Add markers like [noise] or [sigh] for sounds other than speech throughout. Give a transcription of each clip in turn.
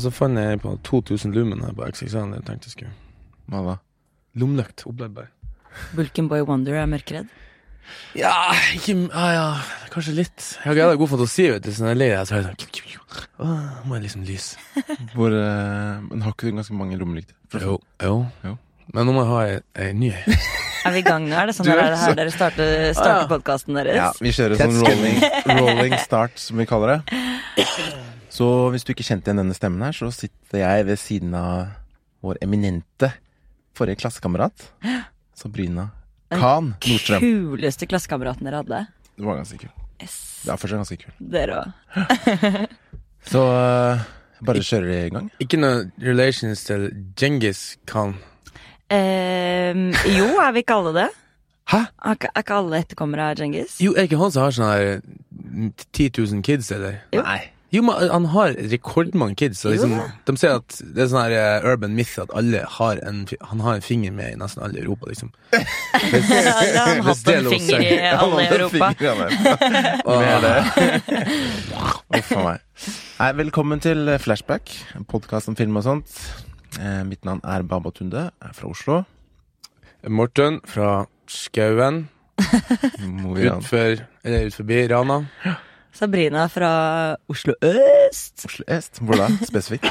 så fant jeg på 2000 lumen her på XXL. Jeg tenkte jeg skulle Hva da? Lommeløkt. Oppladbar. Bulken Boy Wonder er mørkredd. Ja, ikke ah, ja, Kanskje litt. Jeg har jævla god fantasi, vet du. Så når jeg er lei deg, så er jeg sånn ah, Må jeg liksom lyse. Hvor, eh, men har ikke du ganske mange lommelykter? Jo. jo. Jo. Men nå må jeg ha ei- ei ny. Er vi i gang nå? Er det sånn dere er det her dere starter, starter podkasten deres? Ja, vi kjører sånn rolling, [laughs] rolling start, som vi kaller det. Så hvis du ikke kjente igjen denne stemmen her, så sitter jeg ved siden av vår eminente forrige klassekamerat, Sabrina Khan Nordstrøm. Kuleste klassekameraten dere hadde. Det var ganske kul. Yes, Det er fortsatt ganske kul. dere òg. Så eh, bare kjører vi i gang. Ikke noe relations til Genghis Khan. Ehm, jo, er vi ikke alle det? Hæ? Er ikke, er ikke alle etterkommere av Djengis? Jo, er ikke han som har sånn her mm, 10 000 kids, eller? Jo. Nei. [laughs] Jo, men han har rekordmange kids. Så liksom, de sier at det er sånn her eh, urban myth at alle har en, fi- han har en finger med i nesten alle i Europa, [laughs] liksom. Hvis, Ja, da har han hvis hatt det er en lov å si. finger i alle i Europa. Med det. Uff a meg. Nei, velkommen til Flashback, en podkast om film og sånt. Eh, mitt navn er Baba Tunde, jeg er fra Oslo. Morten fra Skauen, Må vi ha en utfor, eller ut forbi Rana. Sabrina fra Oslo øst. Oslo Est. Hvor da? Spesifikt?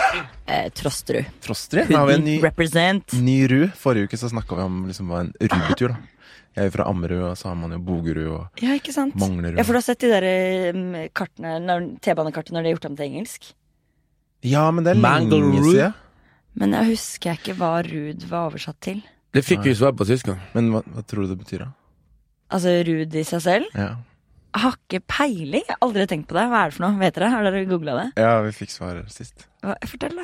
Eh, Trosterud. Trosterud. Da har vi en ny, Mm. Represent. ny ru. Forrige uke så snakka vi om liksom, hva en rubetur, da. Jeg er jo fra Ammerud, og så har man jo Bogerud og Ja, ikke sant? Manglerud. Ja, for du har sett de der eh, kartene, når- T-banekartene når de er gjort om til engelsk? Ja, men det er lenge Manglerud. siden. Men jeg husker ikke hva Ruud var oversatt til. Det fikk vi svar på sist gang. Men hva, hva tror du det betyr, da? Altså Ruud i seg selv. Ja, Jeg har ikke peiling. Jeg har aldri tenkt på det. Hva er det for noe? Vet dere? Har dere googla det? ja vi fikk svar sist. Hva? Fortell, da.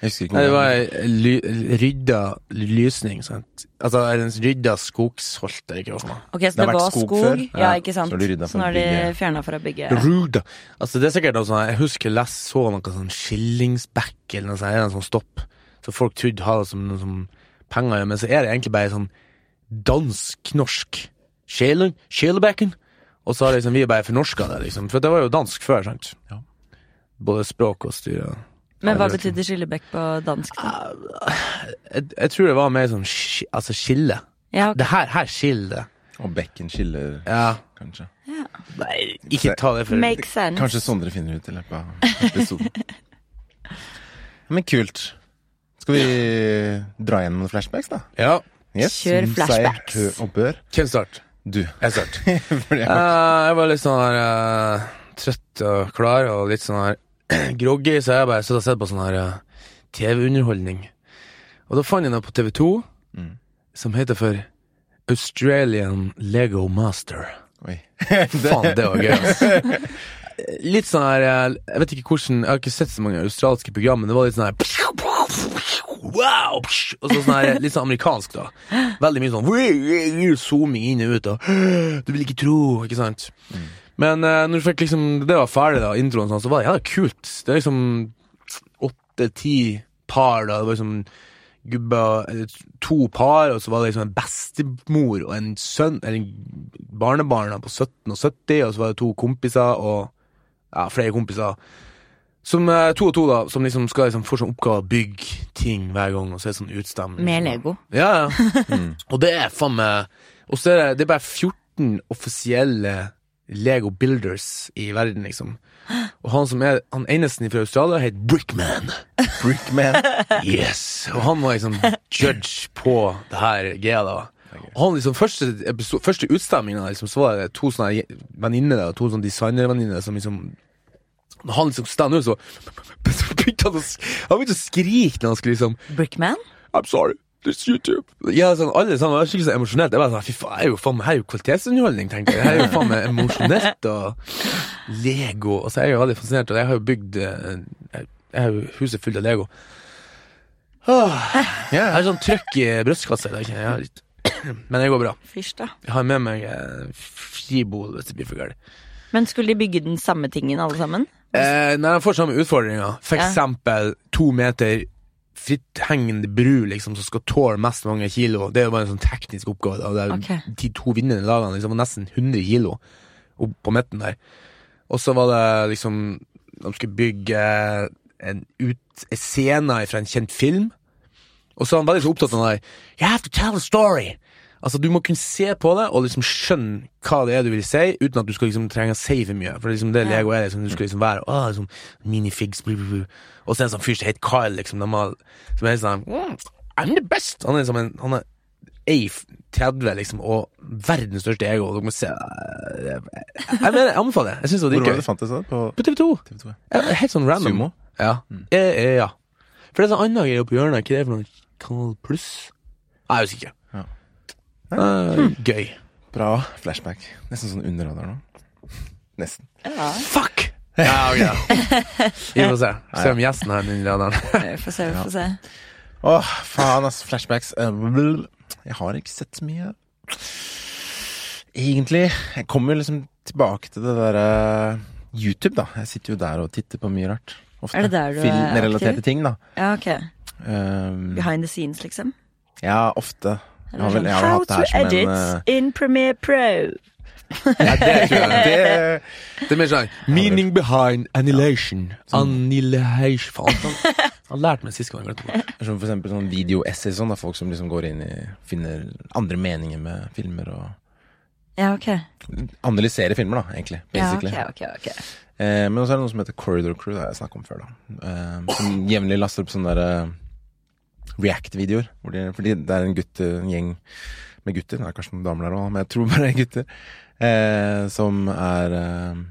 Jeg husker ikke Nei, det hvordan- var ei ly- rydda lysning, sant. Altså en rydda skogsholt, eller ikke hva som er. Ok, Så Det det, har vært var skog skog? Ja, før. Ja, ikke sant? så har de rydda Så nå for er de bygget. fjerna fra bygget. Ruda. Altså det er sikkert noe sånn Jeg husker jeg leste så noe sånn skillingsbekk eller noe sånt, en sånn stopp. Så folk trodde ha det som noe som penger, ja, men så er det egentlig bare sånn dansk-norsk. Skjelen, Skjelebekken. Og så har liksom vi bare fornorska det, liksom. For det var jo dansk før, sant. Ja. Både språk og styre. Men hva betydde skillebekk på dansk? da? Jeg, jeg tror det var mer sånn sk- altså skille. Ja, ok. Det her, her skiller det. Og bekken skiller, Ja. kanskje. Nei, ikke ta det for Makes sense. Kanskje Sondre finner ut i løpet av episoden. [laughs] Men kult. Skal vi dra gjennom noen flashbacks, da? Ja. Kjør som flashbacks. Seier, hø- og bør. Hvem starter? Du. [laughs] Jeg starter. For det- Eh, jeg var litt sånn her eh, trøtt og klar og litt sånn her [clears throat] groggy, så jeg bare satt og sett på sånn her eh, TV-underholdning. Og da fant jeg noe på TV2 Mm. som heter for Australian Lego Master. Oi. Faen, det var gøy, altså. [laughs] Litt sånn her eh, Jeg vet ikke hvordan Jeg har ikke sett så mange australske program, men det var litt sånn her [laughs] Wow! Og så sånn her litt sånn amerikansk, da. Veldig mye sånn [laughs] zooming inn og [gasps] ut og Du vil ikke tro, ikke sant? Men eh, når du fikk liksom det var ferdig, da, introen, og sånn, så var det jævla kult. Det er liksom åtte-ti par, da. Det var liksom gubba, eh, to par, og så var det liksom en bestemor og en sønn, eller en barnebarn da, på 17 og 70, og så var det to kompiser og ja, flere kompiser. Som eh, to og to, da, som liksom skal liksom få sånn oppgave å bygge ting hver gang, og så er det sånn utstemming. Med Lego. Ja, ja. [laughs] Mm. Og det er faen meg Og så er det, det er bare 14 offisielle Lego Builders i verden, liksom. Og han som er han eneste fra Australia, heter [laughs] Brickman. [laughs] Brickman. Yes, og han var liksom judge på det her greia da. Og han liksom, første, episo- første utstemmingen da, liksom, så var det to sånne je- venninner da, to sånne designervenninner som liksom når han liksom stand ut, så så [laughs] begynte han å, sk- han begynte å skrike når han skulle liksom Brickman? I'm sorry, this YouTube. Ja, sånn, alle sammen var skikkelig så emosjonelt. Jeg bare sånn, fy faen, jeg er jo faen meg, her er jo kvalitetsunderholdning, tenkte jeg. Her er jo faen meg emosjonelt og Lego. Og så er jeg jo veldig fascinert, og jeg har jo bygd eh, Jeg jeg har jo huset fullt av Lego. Åh, jeg Ja, har sånn trøkk i brystkassa i dag, kjenner jeg. jeg. har litt- Men det går bra. Fysj, da. Jeg har med meg eh, fribol hvis det blir for galt. Men skulle de bygge den samme tingen, alle [laughs] sammen? Eh, nei, de får samme utfordringer. For Ja. eksempel to meter fritthengende bru liksom, som skal tåle mest mange kilo. Det er jo bare en sånn teknisk oppgave. Da. Det er Ok. De to vinnende lagene liksom, var nesten 100 kilo opp på midten der. Og så var det liksom De skulle bygge en ut, en scene fra en kjent film. Og så er han veldig så opptatt av den der You have to tell a story. Altså, Du må kunne se på det og liksom skjønne hva det er du vil si, uten at du skal liksom trenge å si for mye. For det er liksom det Ja. Lego er. liksom, Du skal liksom være Åh, liksom, minifigs blu, blu, blu. Og så er det en sånn fyr som heter Kyle, liksom, de har, som er sånn mm, I'm the best! Han er liksom en han er Eif 30, liksom, og verdens største ego. Dere må se Jeg, mener, jeg anbefaler det. Jeg syns det Hvor var var det dritgøy. fant det seg? På På TV2. TV2? ja. Ja, Helt sånn random. Sumo? Ja. Eh, eh, ja. For det er sånn annen greie oppe i hjørnet. Er ikke det for noe Kanal Pluss? Nei, Jeg er usikker. Ja. Eh, gøy. Bra flashback. Nesten sånn under radaren nå. [laughs] Nesten. Ja, Fuck! Ja, ok, da. [laughs] Vi får se. Se om gjesten har den [laughs] under radaren. vi får Eh, se, vi får se. Åh, faen, ass. Flashbacks. Eh, blul. Jeg har ikke sett så mye. Egentlig. Jeg kommer liksom tilbake til det derre YouTube, da. Jeg sitter jo der og titter på mye rart. Ofte. Er det der du er Filmrelaterte aktiv? ting, da. Ja, ok. Um, Behind the scenes, liksom. ja, ofte. Jeg har Eller vel, sånn, jeg har How hatt det to her som edit en eh, in Premiere Pro. Ja, det, tror jeg. [laughs] det, det er mer sånn Meaning behind annihilation. Annihilation. Faen. Han lærte meg sist gang. jeg glemte det. Som for eksempel sånn video-essay sånn, da, folk som liksom går inn i Finner andre meninger med filmer og Ja, ok. Analyserer filmer, da, egentlig. Ja, ok, Basically. ok, ok. Eh, men også er det noe som heter Corridor Crew, det har jeg snakket om før, da. Eh, som jevnlig laster opp sånne der eh, React-videoer. hvor de- Fordi det er en gutt, en gjeng med gutter, det er kanskje noen damer der òg, men jeg tror bare det er gutter, eh, som er eh,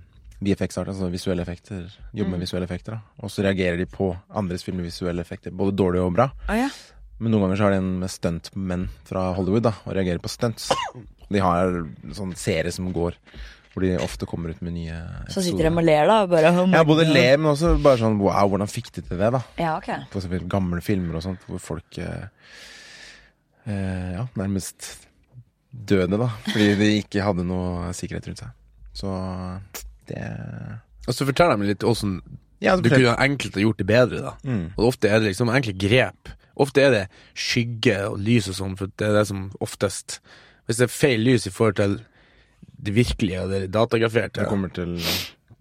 VFX-art, altså visuelle effekter. Jobber Mm. med visuelle effekter, da. Og så reagerer de på andres film med visuelle effekter, både dårlige og bra. Å ja. Men noen ganger så har de en med stuntmenn fra Hollywood da, og reagerer på stunts. De har sånn serie som går, hvor de ofte kommer ut med nye Så sitter de og ler, da. og Bare, oh my Ja, både God. le, men også bare sånn wow, hvordan fikk de til det, da? Ja, ok. For eksempel gamle filmer og sånt, hvor folk eh, eh, ja, nærmest døde, da. Fordi de ikke hadde noe sikkerhet rundt seg. Så det Og så forteller de litt åssen Ja, du kunne enkelt ha gjort det bedre. da Mm. Og ofte er det liksom enkle grep. Ofte er det skygge og lys og sånn, for det er det som oftest Hvis det er feil lys i forhold til det virkelige og det Det datagraferte kommer til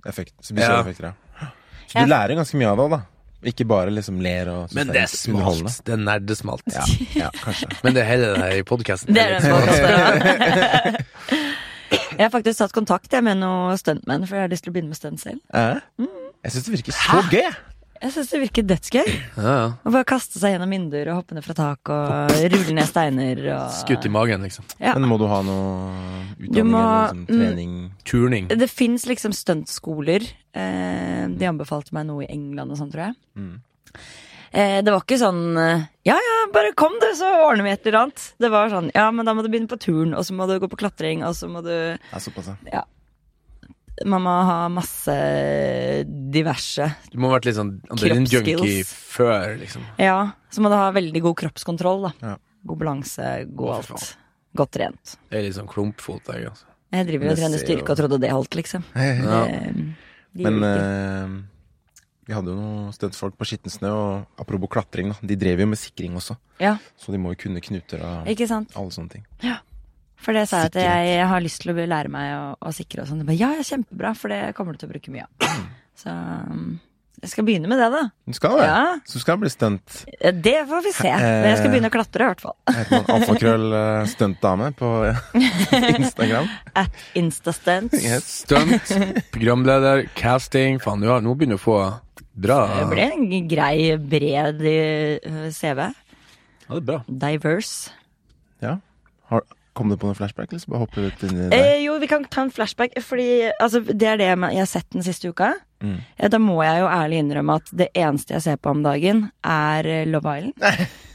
effekt, Ja. visuelle effekter, ja. Så du lærer ganske mye av det, da. Ikke bare liksom ler og synes Men det er underholdende. smalt. Det er nerdesmalt. Ja, ja, kanskje. [laughs] Men det er hele det her i podkasten. Det er den podcasten, ja. Jeg har faktisk tatt kontakt jeg, med noen stuntmenn, for jeg har lyst til å begynne med stunt selv. Eh? Mm. Jeg syns det virker så gøy! Jeg syns det virker dødsgøy. Ja, ja. Å bare kaste seg gjennom vinduer og hoppe ned fra tak og rulle ned steiner og Skutt i magen, liksom. Ja. Men må du ha noe Du utdanning må- eller liksom, mm. trening? Turning. Det fins liksom stuntskoler. Eh, de anbefalte meg noe i England og sånn, tror jeg. Mm. Eh, det var ikke sånn eh, Ja ja, bare kom du, så ordner vi et eller annet. Det var sånn Ja, men da må du begynne på turn, og så må du gå på klatring, og så må du Ja, såpass, ja. Man må ha masse diverse. Du må ha vært litt sånn adrenalin-junkie Kroppsskills. før, liksom. Ja, så må du ha veldig god kroppskontroll, da. Ja. God balanse, Å, god fy alt. Godt trent. Det er litt sånn klumpfot. Jeg, altså. Jeg driver og Det trener ser styrke jo- og trodde det holdt, liksom. ja. Eh, de Men gjorde ikke. eh, vi hadde jo noen stuntfolk på skitten snø, og apropos klatring, da. De drev jo med sikring også, Ja, så de må jo kunne knuter og ikke sant? alle sånne ting. For det sa jeg at Sikkerhet. jeg, har lyst til å lære meg å, å sikre og sånn. Jeg bare, Ja, ja, kjempebra, for det kommer du til å bruke mye av. Så um, jeg skal begynne med det, da. Du skal det! Ja. Så du skal bli stunt. Eh, Det får vi se. Men jeg skal begynne å klatre, i hvert fall. [laughs] Jeg heter man alfakrøll eh, stuntdame på [laughs] Instagram. At Instastance. Yes. Stunt, programleder, casting. Faen, du har, nå begynner du å få bra Det Ja, blir en grei, bred eh, CV. det er bra. Diverse. Ja. Har, kom du på noen flashback, eller så bare hopper du ut inni det? Eh, jo, vi kan ta en flashback, fordi altså, det er det jeg har sett den siste uka. Mm. Eh, Da må jeg jo ærlig innrømme at det eneste jeg ser på om dagen, er eh, Love Island.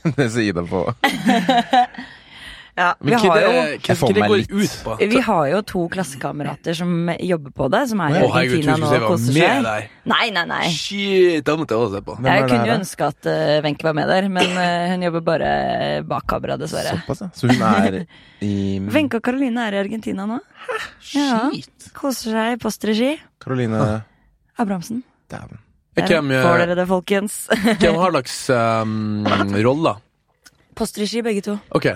[laughs] det sier Ida på. Ja, Men vi hva har det, jo hva, Jeg får hva det meg går litt. ut på? Vi har jo to klassekamerater som jobber på det, som er i Å, herregud, Argentina jeg nå trodde og du skulle koser si jeg var med seg. der. Nei, nei, nei. Shit, da måtte jeg også se på. Hvem er Jeg det kunne her, jo da? ønske at eh, Wenche var med der, men eh, hun jobber bare bak kamera, dessverre. Såpass, ja. Så hun er i Wenche og Caroline er i Argentina nå. Ja. Shit. Koser seg i postregi. Karoline Abrahamsen. Dæven. Der Hvem, eh, får dere det, folkens. [laughs] hvem har slags um, roller? postregi, begge to. Ok,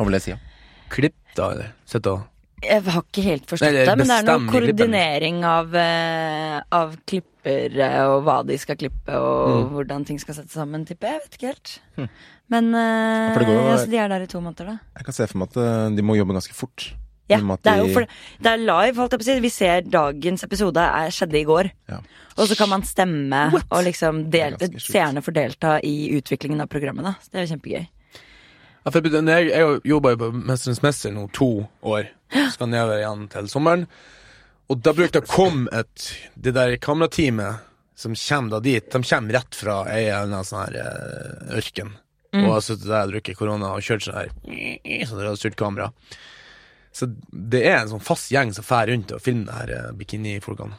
Hva vil jeg si? ja? klipp da, eller? Sett og Jeg har ikke helt forstått Nei, det det, er men det er noe bestemmelig koordinering av, eh, av klipper eh, og hva de skal klippe og hvordan ting skal settes sammen, tipper jeg. Jeg vet ikke helt. Men eh, Ja, Hm. for det går jo- ja, så de er der i to måneder, da. Jeg kan se for meg at eh, de må jobbe ganske fort. Ja, I og med at det er jo de- for, det er live, holdt jeg på å si. Vi ser dagens episode er, skjedde i går. Ja. Og så kan man stemme, og liksom del, Det er ganske sjukt. seerne får delta i utviklingen av programmet. da Så Det er jo kjempegøy. Ja, for jeg, jeg, jeg jobba jo på Mesterens mester nå to år. Skal nedover igjen til sommeren. Og da brukte det å komme et Det der kamerateamet som kommer da dit, de kommer rett fra ei eller annen sånn her eh, ørken. Og har sittet der og drukket korona og kjørt sånn her [clears throat] Så dere har styrt kamera. Så det er en sånn fast gjeng som fær rundt og filmer det her eh, bikinifolkene.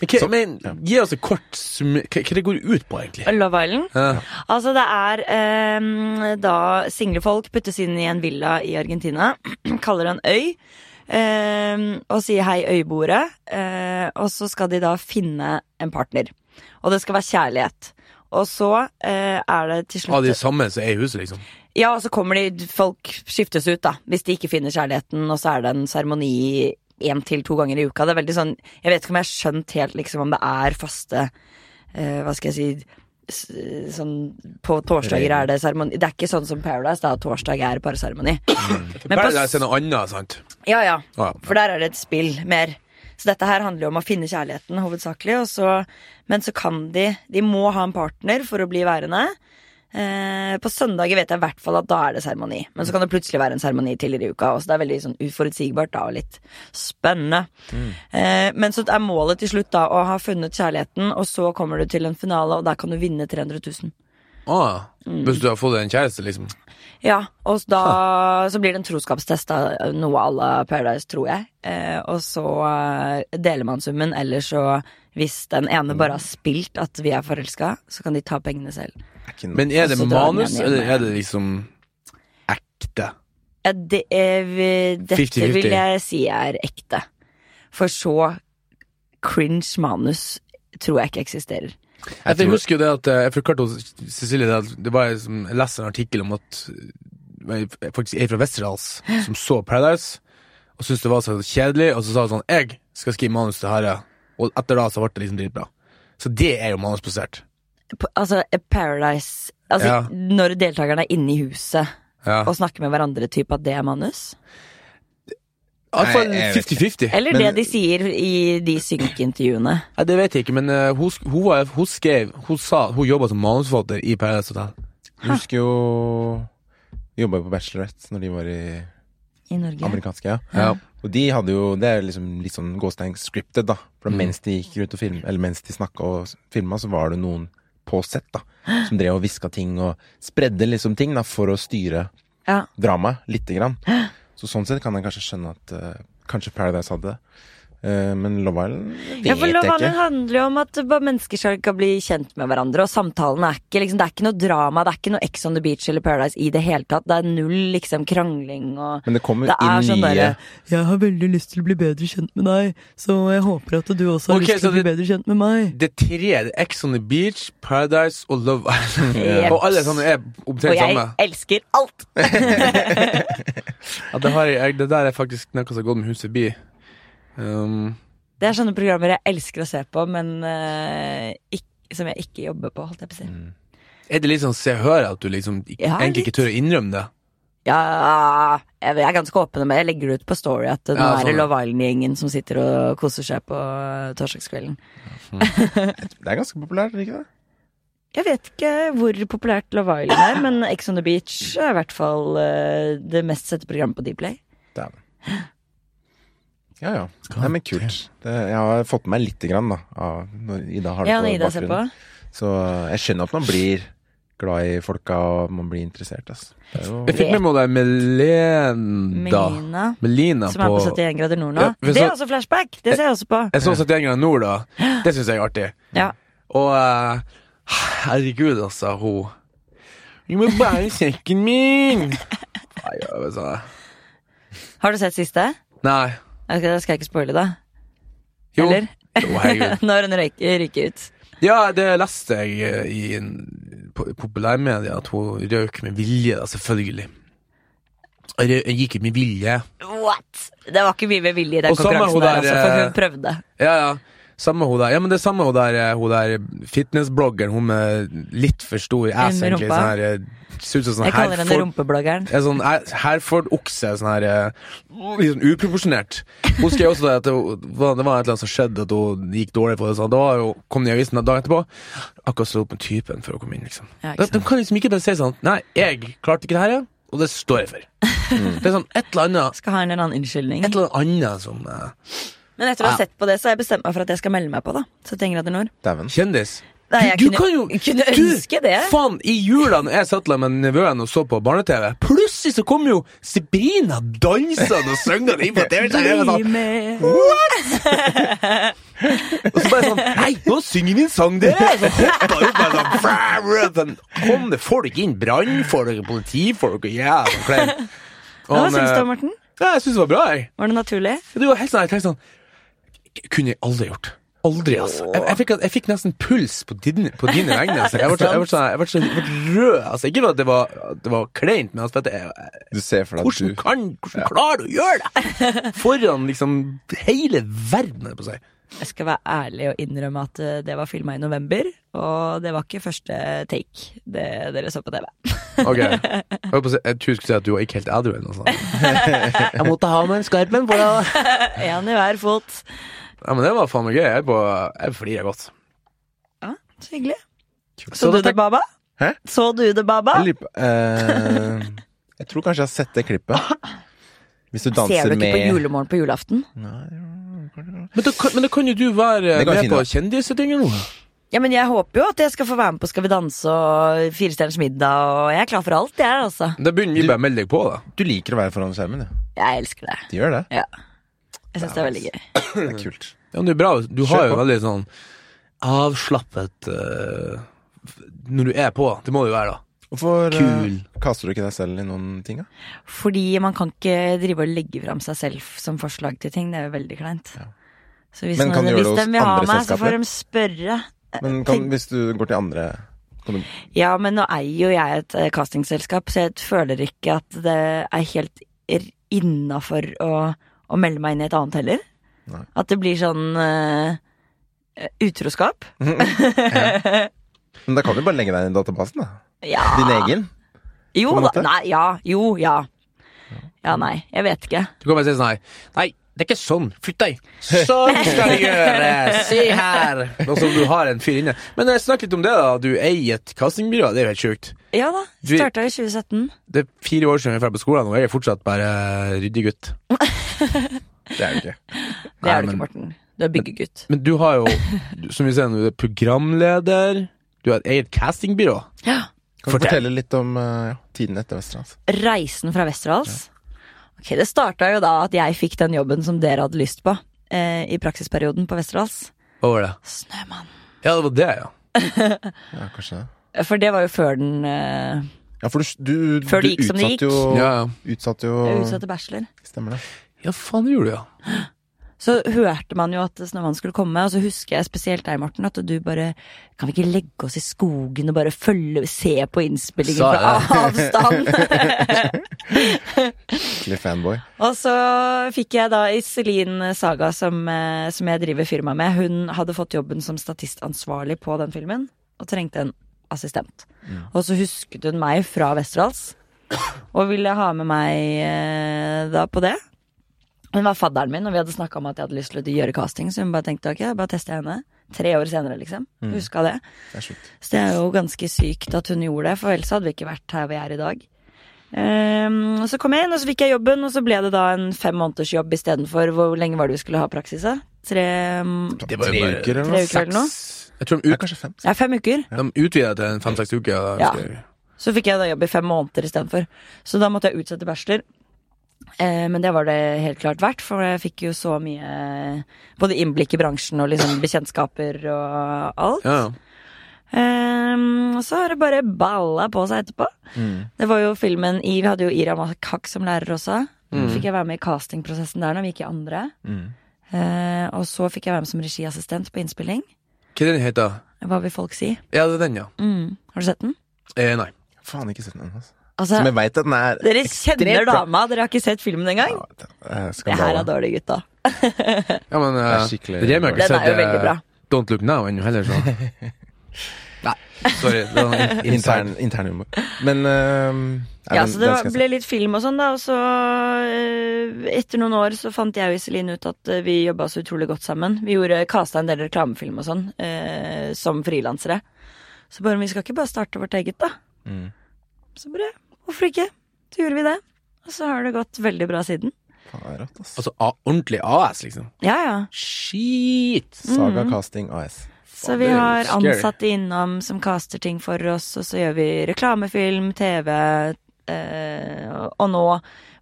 Men, hva- men gi oss et kort summer... Hva, hva det går ut på, egentlig? Love Island. Ja. Altså, det er eh, da single folk puttes inn i en villa i Argentina, [clears throat] kaller en øy, eh, og sier hei, øyboere. eh, og så skal de da finne en partner. Og det skal være kjærlighet. Og så eh, er det til slutt Av de samme som er i huset, liksom? Ja, og så kommer de Folk skiftes ut, da. Hvis de ikke finner kjærligheten, og så er det en seremoni én til to ganger i uka. Det er veldig sånn Jeg vet ikke om jeg har skjønt helt liksom om det er faste eh, Hva skal jeg si s- Sånn På torsdager er det seremoni. Det er ikke sånn som Paradise, da. at Torsdag er parseremoni. Men på Paradise s- er noe annet, sant? Ja, ja. Ah, ja. For der er det et spill mer. Så dette her handler jo om å finne kjærligheten hovedsakelig. Og så, men så kan de De må ha en partner for å bli værende. Eh, på søndager vet jeg i hvert fall at da er det seremoni. Men så kan det plutselig være en seremoni tidligere i uka. Og så det er veldig sånn uforutsigbart da, og litt spennende. Eh, men så er målet til slutt da å ha funnet kjærligheten, og så kommer du til en finale, og der kan du vinne 300 000. Ah, Hvis du har fått deg en kjæreste, liksom. Ja, og da, så blir det en troskapstest av noe à la Paradise, tror jeg. Eh, og så eh, deler man summen, eller så hvis den ene bare har spilt at vi er forelska, så kan de ta pengene selv. er ikke noe- Men er det Og så med drar den manus, igjen eller hjemme. er det liksom ekte? Ja, Eh, det er, vi- dette 50-50. vil jeg si er ekte. For så cringe manus tror jeg ikke eksisterer. Jeg, tror- husker jo det at eh, Jeg forklarte hos Cecilie det at det var liksom, jeg leste en artikkel om at eh, jeg faktisk ei fra Westerdals som så Paradise og syntes det var så kjedelig, og så sa hun sånn Jeg skal skrive manus til dette, og etter da så ble det liksom dritbra. Så det er jo manusbasert. P- Altså, Paradise Altså, Ja. når deltakerne er inne i huset Ja. og snakker med hverandre, type at det er manus? Iallfall Nei, jeg vet 50-50. Eller det Men- de sier i de synkeintervjuene. Nei, Det vet jeg ikke, men eh, hun, sk- hun, var, hun skrev Hun sa hun jobba som manusforfatter i Paradise Hotel. Jeg husker jo Jobba på Bachelorette når de var i I Norge. amerikanske, ja. Ja. Og de hadde jo Det er liksom litt sånn gåstein scripted, da. Mm. For mens de gikk rundt og film, Eller mens de snakka og s- filma, så var det noen på sett, da. Som drev og hviska ting og spredde liksom ting, da, for å styre Ja. dramaet lite grann. Så sånn sett kan jeg kanskje skjønne at eh, kanskje Paradise hadde det. Eh, men Love Island vet Ja, for jeg Love ikke. Island handler jo om at bare mennesker skal skal bli kjent med hverandre. Og samtalen er ikke liksom, Det er ikke noe drama, det er ikke noe Ex on the Beach eller Paradise i det hele tatt. Det er null liksom krangling og Men det kommer Det er inn sånn nye derre Jeg har veldig lyst til å bli bedre kjent med deg, så jeg håper at du også har Ok, lyst til så å bli det- bedre kjent med meg. Det er tre det er Ex on the Beach, Paradise og Love Island. [laughs] Jeps. Og alle sånne er Og omtrent jeg samme. sånn, elsker alt! Ja, det, har jeg, jeg, det der er faktisk noe som har gått med hus forbi. Um, Det er sånne programmer jeg elsker å se på, men eh, ikk- som jeg ikke jobber på, holdt jeg på å si. Mm. er det litt sånn se og hør at du liksom ikke, Ja, egentlig ikke tør å innrømme det? Ja, jeg er ganske åpen om det. Jeg legger det ut på Story at nå Ja, er det sånn. Love Island-gjengen som sitter og koser seg på eh, torsdagskvelden. Det er ganske populært, er det ikke det? Jeg vet ikke hvor populært Love Island er, men Ex on the Beach er i hvert fall eh, det mest sette programmet på Dplay. Dæven. [gasps] Ja ja. Nei, men kult. Det, jeg har fått med meg lite grann, da. Av, når Ida har det Ja, på Ida ser på. bakgrunnen. Så eh, jeg skjønner at man blir glad i folka, og man blir interessert, altså. Det er Jeg jo fikk med meg det Melenda Melina, Melina som på er på 71 grader nord nå. Ja, for det er så- Eh, også flashback! Det ser jeg også på. Jeg så 71 grader nord, da. Det syns jeg er artig. Ja. Og eh, herregud, altså, hun Du må bære sekken min! Nei, jeg vet ikke. Har du sett siste? Nei. Ok, Det skal jeg ikke spoile, da. Jo. Eller? jo, herregud. [laughs] Når hun røyker, ryker ut. Ja, det leste jeg eh, i en po- populærmedia, at hun røyk med vilje, da, selvfølgelig. Rø- Jeg gikk ut med vilje. What? Det var ikke mye med vilje i den Og samme hun konkurransen der, der, altså, for hun eh, prøvde. Ja, ja. Samme hun der. Ja, men det er samme hun der, eh, hun der fitnessbloggeren, hun med litt for stor ass, Med egentlig. rumpa. Sånn her, eh, ser ut som sånn Jeg kaller henne Herford- rumpebloggeren. en sånn her- Herford-okse, sånn her eh, Litt sånn uproporsjonert. Husker jeg også det at det var, det var et eller annet som skjedde, at hun gikk dårlig for det. Sånn. Da var jo, kom det i avisen dagen etterpå. Akkurat slå opp med typen før hun kom inn, liksom. Ja, ikke de, de kan liksom ikke bare si sånn Nei, jeg klarte ikke det her, ja, og det står jeg for. Mm. Det er sånn et eller annet Skal ha en eller annen unnskyldning. Et eller annet som eh, Men etter å ha Ja. sett på det, så har jeg bestemt meg for at jeg skal melde meg på, da. 71 grader nord. Dæven. Kjendis. Nei, jeg du, du kunne- kan jo kunne du, ønske det. Faen, i jula når jeg satt der med nevøen og så på barne-TV, plutselig så kom jo Sabrina dansende og syngende inn på TV. Så jeg var sånn, Bli med. Og så bare sånn Nei, nå synger vi en sang, dere! Så hoppa jeg opp bare sånn, [laughs] «Fra, fra», sånn Kom det folk inn? Brannfolk og politifolk og jævla klein. Og Hva han, syns du eh, om Morten? Ja, jeg syns det var bra, jeg. Var det naturlig? Det var helt sånn, jeg tenkte sånn Kunne jeg aldri gjort. Aldri, altså. Jeg, jeg, fikk, jeg fikk nesten puls på dine, på dine vegne. Altså. Jeg ble så- jeg ble så- jeg ble så jeg ble rød. Altså. Ikke at det var, at det var kleint, men altså, vet du, jeg, jeg, Du ser for deg hvordan, at du kan, hvordan klarer du å gjøre det? Foran liksom hele verden, holdt jeg på å si. Jeg skal være ærlig og innrømme at eh, det var filma i november, og det var ikke første take det dere så på TV. [laughs] Ok, jeg holdt på å si- jeg tror jeg skulle si at du var ikke helt edru eller noe sånt. [laughs] Jeg måtte ha med en skarp en på det. Én i hver fot. Ja, men det var faen meg gøy. Jeg, er på, jeg flirer godt. Ja, så hyggelig. Så, Så du da det, Baba? Hæ? Så du det, Baba? Jeg, lurer på- eh, jeg tror kanskje jeg har sett det klippet. Hvis du danser Ser du ikke med på julemorgen på julaften? Men da, kan- men da kan jo du være Det kan med jeg på finne. kjendisetinget nå. Ja, men jeg håper jo at jeg skal få være med på Skal vi danse og Firestjerners middag, og jeg er klar for alt, jeg, altså. Da begynner vi bare å melde deg på, da. Du liker å være foran skjermen, du. Jeg elsker det. De gjør det. Ja. Jeg syns det er veldig gøy. Det er kult. Ja, men det er bra. Du har Kjør jo på. veldig sånn avslappet eh, f- Når du er på. Det må du være, da. Hvorfor eh, Kul. kaster du ikke deg selv i noen ting, da? Fordi man kan ikke drive og legge fram seg selv som forslag til ting. Det er jo veldig kleint. Så hvis, noen, Men kan du gjøre hvis det hos de vil ha meg, andre så selskaper? får de spørre. Men kan, Tenk- hvis du går til andre kan du, Ja, men nå eier jo jeg et eh, castingselskap, så jeg føler ikke at det er helt innafor å, å melde meg inn i et annet heller. Nei. At det blir sånn eh, utroskap. Men da kan du bare legge deg inn i databasen, da. Ja. Din egen. Jo på en da. måte? Nei, ja. Jo, ja. Ja, nei. Jeg vet ikke. Du kan bare si sånn her Nei, det er ikke sånn. Flytt deg. [laughs] Sånn skal det gjøre. Se her. Og så du har en fyr inne. Men eh, snakk litt om det, da. Du eier et castingbyrå. Det er jo helt sjukt. Ja da. Du- Starta i 2017. Det er fire år siden jeg var på skolen, og jeg er fortsatt bare ryddig gutt. Det er jo ikke. Det Nei, er du men- ikke, Morten. Du er byggegutt. Men du har jo, du- som vi ser nå, du er programleder, du har et eget castingbyrå. Kan du Fortell. fortelle litt om eh, ja, tiden etter Vesterålen? Reisen fra Westerdals. Ok, Det starta jo da at jeg fikk den jobben som dere hadde lyst på eh, i praksisperioden på Westerdals. Hva var det? Snømann. Ja, det var det, ja. Ja, kanskje det. For det var jo før den eh, Ja, for du, du, Før det du gikk som det utsatte jo Ja, ja. Utsatte jo utsatte bachelor. Stemmer det. ja faen det gjorde du, ja. Så hørte man jo at Snømann skulle komme, og så husker jeg spesielt deg, Morten, at du bare Kan vi ikke legge oss i skogen og bare følge se på innspillingen Sa fra [laughs] avstand? Skikkelig fanboy. Og så fikk jeg da Iselin Saga, som, eh, som jeg driver firma med, hun hadde fått jobben som statistansvarlig på den filmen, og trengte en assistent. Og så husket hun meg fra Westerdals, og ville ha med meg eh, da på det. Hun var fadderen min, og vi hadde snakka om at jeg hadde lyst til å gjøre casting, så hun bare tenkte ok, bare tester jeg henne. Tre år senere, liksom. Huska det. Det er sjukt. Så det er jo ganske sykt at hun gjorde det, for ellers hadde vi ikke vært her vi er i dag. Ehm, og så kom jeg inn, og så fikk jeg jobben, og så ble det da en fem måneders jobb istedenfor Hvor lenge var det vi skulle ha praksis? da? Tre mm, Det var jo tre bare- uker eller tre noe? uker eller noe? Jeg tror de, Ja, ut, kanskje fem. Ja, fem uker. de utvidet til en fem-seks uker. da, Ja. husker jeg. Så fikk jeg da jobb i fem måneder istedenfor. Så da måtte jeg utsette bachelor. Eh, men det var det helt klart verdt, for jeg fikk jo så mye Både innblikk i bransjen og liksom bekjentskaper og alt. Ja, ja. Ehm, og så har det bare balla på seg etterpå. Mm. Det var jo filmen i Vi hadde jo Ira Makak som lærer også. Mm. Fikk jeg være med i castingprosessen der når vi gikk i andre. Eh, og så fikk jeg være med som regiassistent på innspilling. Hva er den heter? Hva vil folk si? Ja, det er den, ja. Mm. Har du sett den? Eh, nei. Faen, ikke sett den ennå. altså. Altså, Som jeg veit at den er dere ekstremt kjenner bra. dama, dere har ikke sett filmen engang. Ja, det er Det her er Skandale. dårlig, gutta. Ja, men eh, Det er skikkelig- Remi har ikke Den er sett jo veldig eh, bra. Don't Look Now ennå [laughs] heller, så Nei, sorry. Det var en [laughs] Intern, intern humor. Men eh, er Ja, den- så det den skal var, jeg se. ble litt film og sånn, da. Og så, eh, etter noen år, så fant jeg og Iselin ut at eh, vi jobba så utrolig godt sammen. Vi gjorde kasta en del reklamefilm og sånn, eh, som frilansere. Så bare vi skal ikke bare starte vårt eget, da. Mm. Så bare hvorfor ikke? Så gjorde vi det. Og så har det gått veldig bra siden. Faen, det er rått, ass. Altså A ordentlig AS, liksom. Ja, ja. Shit! Mm. Saga Casting AS. Så Faen, vi det er jo har scary. ansatte innom som caster ting for oss, og så gjør vi reklamefilm, TV, eh, og nå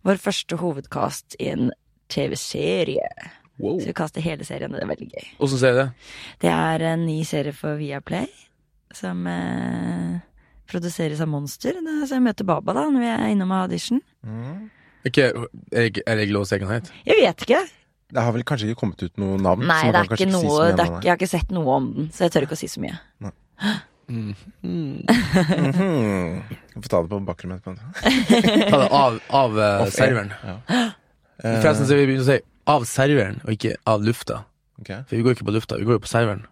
vår første hovedcast i en TV-serie. Wow. Så vi kaster hele serien, og det er veldig gøy. Åssen ser jeg det? Det er en ny serie for Viaplay, som eh, produseres av Monster. Det- Så jeg møter Baba da, når vi er innom audition. Mm. Ikke, er det ikke- er det ikke lov å si hva den heter? Jeg vet ikke. Det har vel kanskje ikke kommet ut noe navn? Nei, det så man kan er kanskje ikke si så noe mye om det er, det. ikke- Jeg har ikke sett noe om den, så jeg tør ikke å si så mye. Mhm. Vi får ta det på bakrommet etterpå. Ta det av, av eh, Off air. serveren. Forresten så vil vi begynne å si av serveren, og ikke av lufta. Eh, Ok. For vi går ikke på lufta, vi går jo på serveren.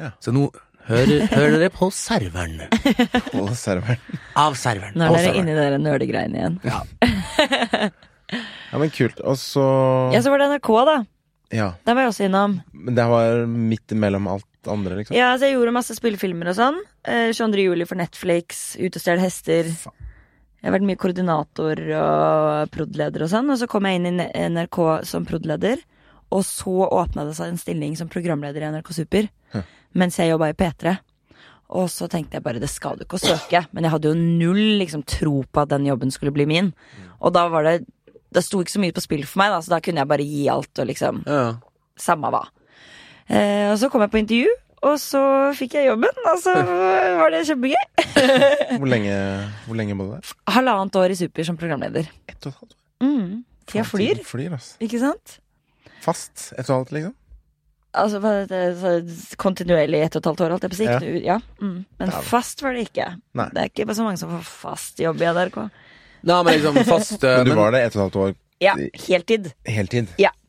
Ja. Så nå hører, hører dere på serveren. Hold serveren. Av serveren. Nå Av er dere serveren. inni dere nølegreiene igjen. Ja. Ja, men kult. Og så Ja, så var det NRK, da. Ja. Der var jeg også innom. Men det var midt imellom alt andre, liksom? Ja, så jeg gjorde masse spillefilmer og sånn. Eh, 22. juli for Netflix, Ut og stjel hester. Faen. Jeg har vært mye koordinator og prod.leder og sånn. Og så kom jeg inn i N- NRK som prod.leder, og så åpna det seg en stilling som programleder i NRK Super mens jeg jobba i P3. Og så tenkte jeg bare det skal du ikke å søke, men jeg hadde jo null liksom, tro på at den jobben skulle bli min. Mm. Og da var det Det sto ikke så mye på spill for meg, da, så da kunne jeg bare gi alt og liksom Ja. samme hva. Eh, og så kom jeg på intervju, og så fikk jeg jobben, og så var det kjempegøy. Hvor lenge, hvor lenge bodde du der? Halvannet år i Super som programleder. Ett og et halvt år. Mm. Tida Faen, flyr, tiden flyr ass. ikke sant? Fast ett og et halvt, liksom? Altså hva heter det, så kontinuerlig i ett og et halvt år, holdt jeg på å si. Ja. Ikke noe- Ja. Mm. Men Dæven. fast var det ikke. Nei. Det er ikke så mange som får fast jobb i NRK. Nei, men liksom [laughs] fast eh, Men du men, var der ett og et halvt år Ja, heltid. heltid?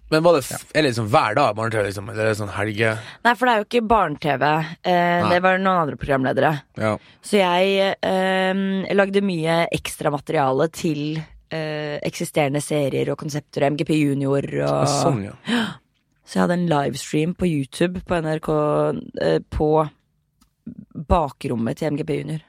men var det f eller liksom hver dag? Barne-TV, liksom? Eller sånn helge? Nei, for det er jo ikke barne-TV. Eh, Nei. det var noen andre programledere. Ja. Så jeg eh, lagde mye ekstra materiale til eh, eksisterende serier og konsepter. MGP Junior og Sånn, ja. Så jeg hadde en livestream på YouTube på NRK eh, på bakrommet til MGP Junior.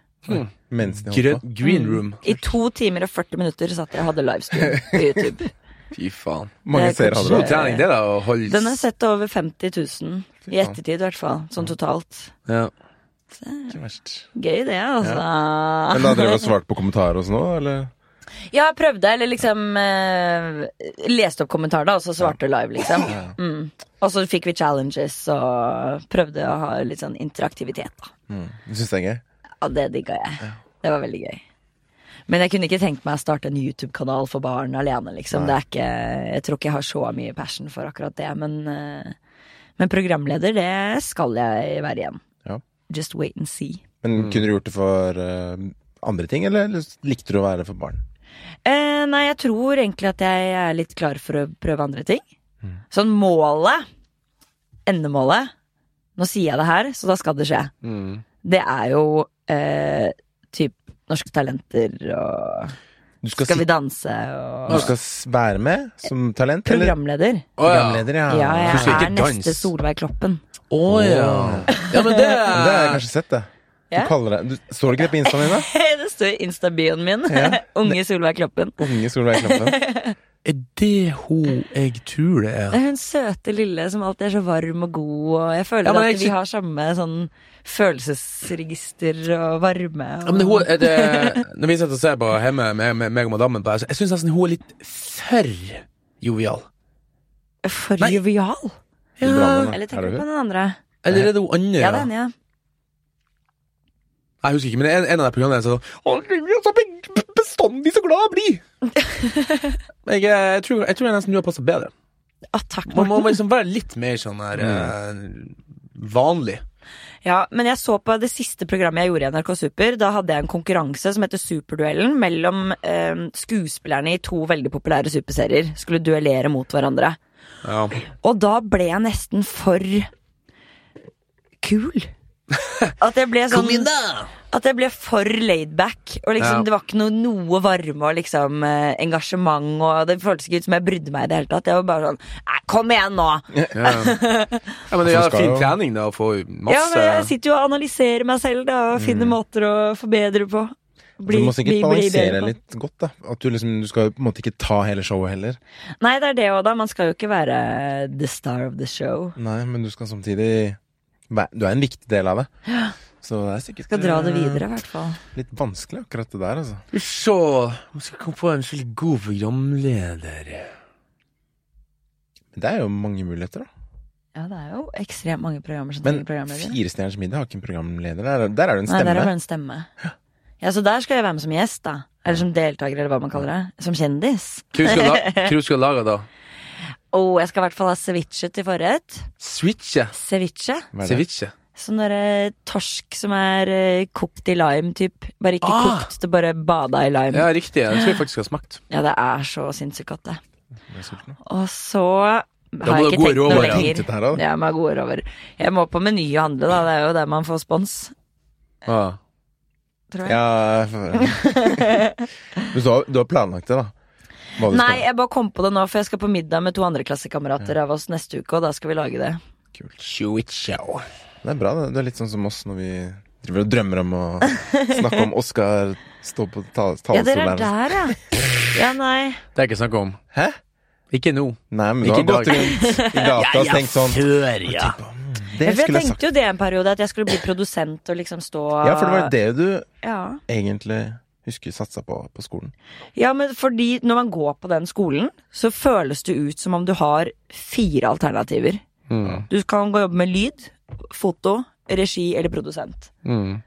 Mens de Grø holdt på? green room. I to timer og 40 minutter satt jeg og hadde livestream på [laughs] YouTube. Fy faen. Det Mange er seere hadde God det. trening, det, da. Å holde Den er sett over 50 000. I Fy faen. ettertid, i hvert fall. Sånn totalt. ja. Ikke verst. Gøy, det, altså. Men da drev du og svarte på kommentarer og sånn òg, eller? Ja, jeg prøvde, eller liksom eh, Leste opp kommentarer da, og så svarte live, liksom. Mm. Og så fikk vi challenges og prøvde å ha litt sånn interaktivitet, da. Mm. Du syns det er gøy? Og det digga jeg. Det var veldig gøy. Men jeg kunne ikke tenkt meg å starte en YouTube-kanal for barn alene, liksom. Det er ikke, jeg tror ikke jeg har så mye passion for akkurat det, men, eh, men programleder, det skal jeg være igjen. Ja. Just wait and see. Men Mm. kunne du gjort det for eh, andre ting, eller likte du å være det for barn? Eh, nei, jeg tror egentlig at jeg er litt klar for å prøve andre ting. Mm. Sånn målet, endemålet Nå sier jeg det her, så da skal det skje. Mm. Det er jo eh, typ Norske Talenter og Du skal, Skal vi si- danse og du skal s- være med som talent, eller? Ah. Programleder. Å, ja. Programleder, ja. Ja, Du jeg skal er ikke danse. neste Solveig Kloppen. Å ja. Ja, men det Men Det har jeg kanskje sett, det. Du Ja. kaller det du, Står det ikke det på instaen din, da? [laughs] Det står i Insta-bioen min. Ja. [laughs] Unge Solveig Kloppen. Unge Solveig [laughs] Klampen. Er det hun jeg tror det er? Det er hun søte lille som alltid er så varm og god, og jeg føler Ja, men jeg at sy- vi har samme sånn følelsesregister og varme. Og... Ja, men hun, er det, når vi sitter og ser på hjemme med, med meg og madammen på her, så jeg syns nesten hun er litt for jovial. For Nei. jovial. Brannmann, da. Eller Er tenker det du på hun? den andre? Eller er det hun andre? Ja, det er henne, ja. Jeg husker ikke, men en, en av de programmene er sånn Å, Gud, så be- be- bestandig så glad jeg [laughs] blir! Men jeg, jeg, tror, jeg tror jeg nesten du har passa bedre. Å, Ah, takk, Man må Mm. Morten. liksom være litt mer sånn her eh, vanlig. Ja, men jeg så på det siste programmet jeg gjorde i NRK Super. Da hadde jeg en konkurranse som heter Superduellen, mellom eh, skuespillerne i to veldig populære superserier. Skulle duellere mot hverandre. Ja. Og da ble jeg nesten for [laughs] kul. At jeg ble sånn da! At jeg ble for laidback. Og Ja. liksom, det var ikke noe, noe varme og liksom eh, engasjement. Og det føltes ikke ut som jeg brydde meg i det hele tatt. Jeg var bare sånn Nei, kom igjen nå! Ja, ja. ja men det Altså, er skal fin jo- trening, da, å få Ja, men masse jeg sitter jo og analyserer meg selv da, og finner måter å forbedre på. Mm. Du Bli- må sikkert bli- bli bedre balansere på. litt godt, da. At du liksom, du skal jo på en måte ikke ta hele showet heller. Nei, det er det òg, da. Man skal jo ikke være eh, the star of the show. Nei, men du skal samtidig væ- Du er en viktig del av det. Så det er sikkert Skal dra det eh, videre, i hvert fall. litt vanskelig, akkurat det der, altså. Skal vi se Man skal komme på en skikkelig god programleder. Men Det er jo mange muligheter, da. Ja, det er jo ekstremt mange programmer som Men trenger programledere. Firestjerners middag har ikke en programleder. Der, er- der er det en Nei, der er det stemme. bare en stemme. Ja, så der skal jeg være med som gjest, da. Eller som deltaker, eller hva man kaller det. Som kjendis. Hva du skal la- hva du skal lage da? Og jeg skal i hvert fall ha ceviche til forrett. Switche? Ceviche. Hva er det? Ceviche? Sånn derre torsk som er eh, kokt i lime, typ. Bare ikke Ah! kokt, det bare bada i lime. Ja, riktig. Jeg tror jeg faktisk har smakt. Ja, det er så sinnssykt godt, det. Jeg er sulten nå. Og så har må jeg du ha ikke gode tenkt noe råvarer. lenger. Tenkte det her, da. Ja, med gode råvarer. Jeg må på Meny og handle, da. Det er jo der man får spons, Ah. tror jeg. Ja for... [laughs] [laughs] Men så, har- du har planlagt det, da? Hva du Nei, skal jeg bare kom på det nå, for jeg skal på middag med to andre klassekamerater av oss neste uke, og da skal vi lage det. Switche. Det er bra, det. Du er litt sånn som oss når vi driver og drømmer om å snakke om Oskar stå på ta- Ja, dere talerstolen er der, [laughs] ja. Ja, nei. Det er ikke snakk om. Hæ? Ikke nå. Nei, men du Ikke har i dag. gått rundt i gata og tenkt sånn før, ja. Ja, Det for jeg skulle jeg sagt. tenkte jo det en periode, at jeg skulle bli produsent og liksom stå Ja, for det var det du Ja. egentlig husker satsa på på skolen. Ja, men fordi når man går på den skolen, så føles det ut som om du har fire alternativer. Mm. Du kan gå og jobbe med lyd, foto, regi eller produsent. Mm.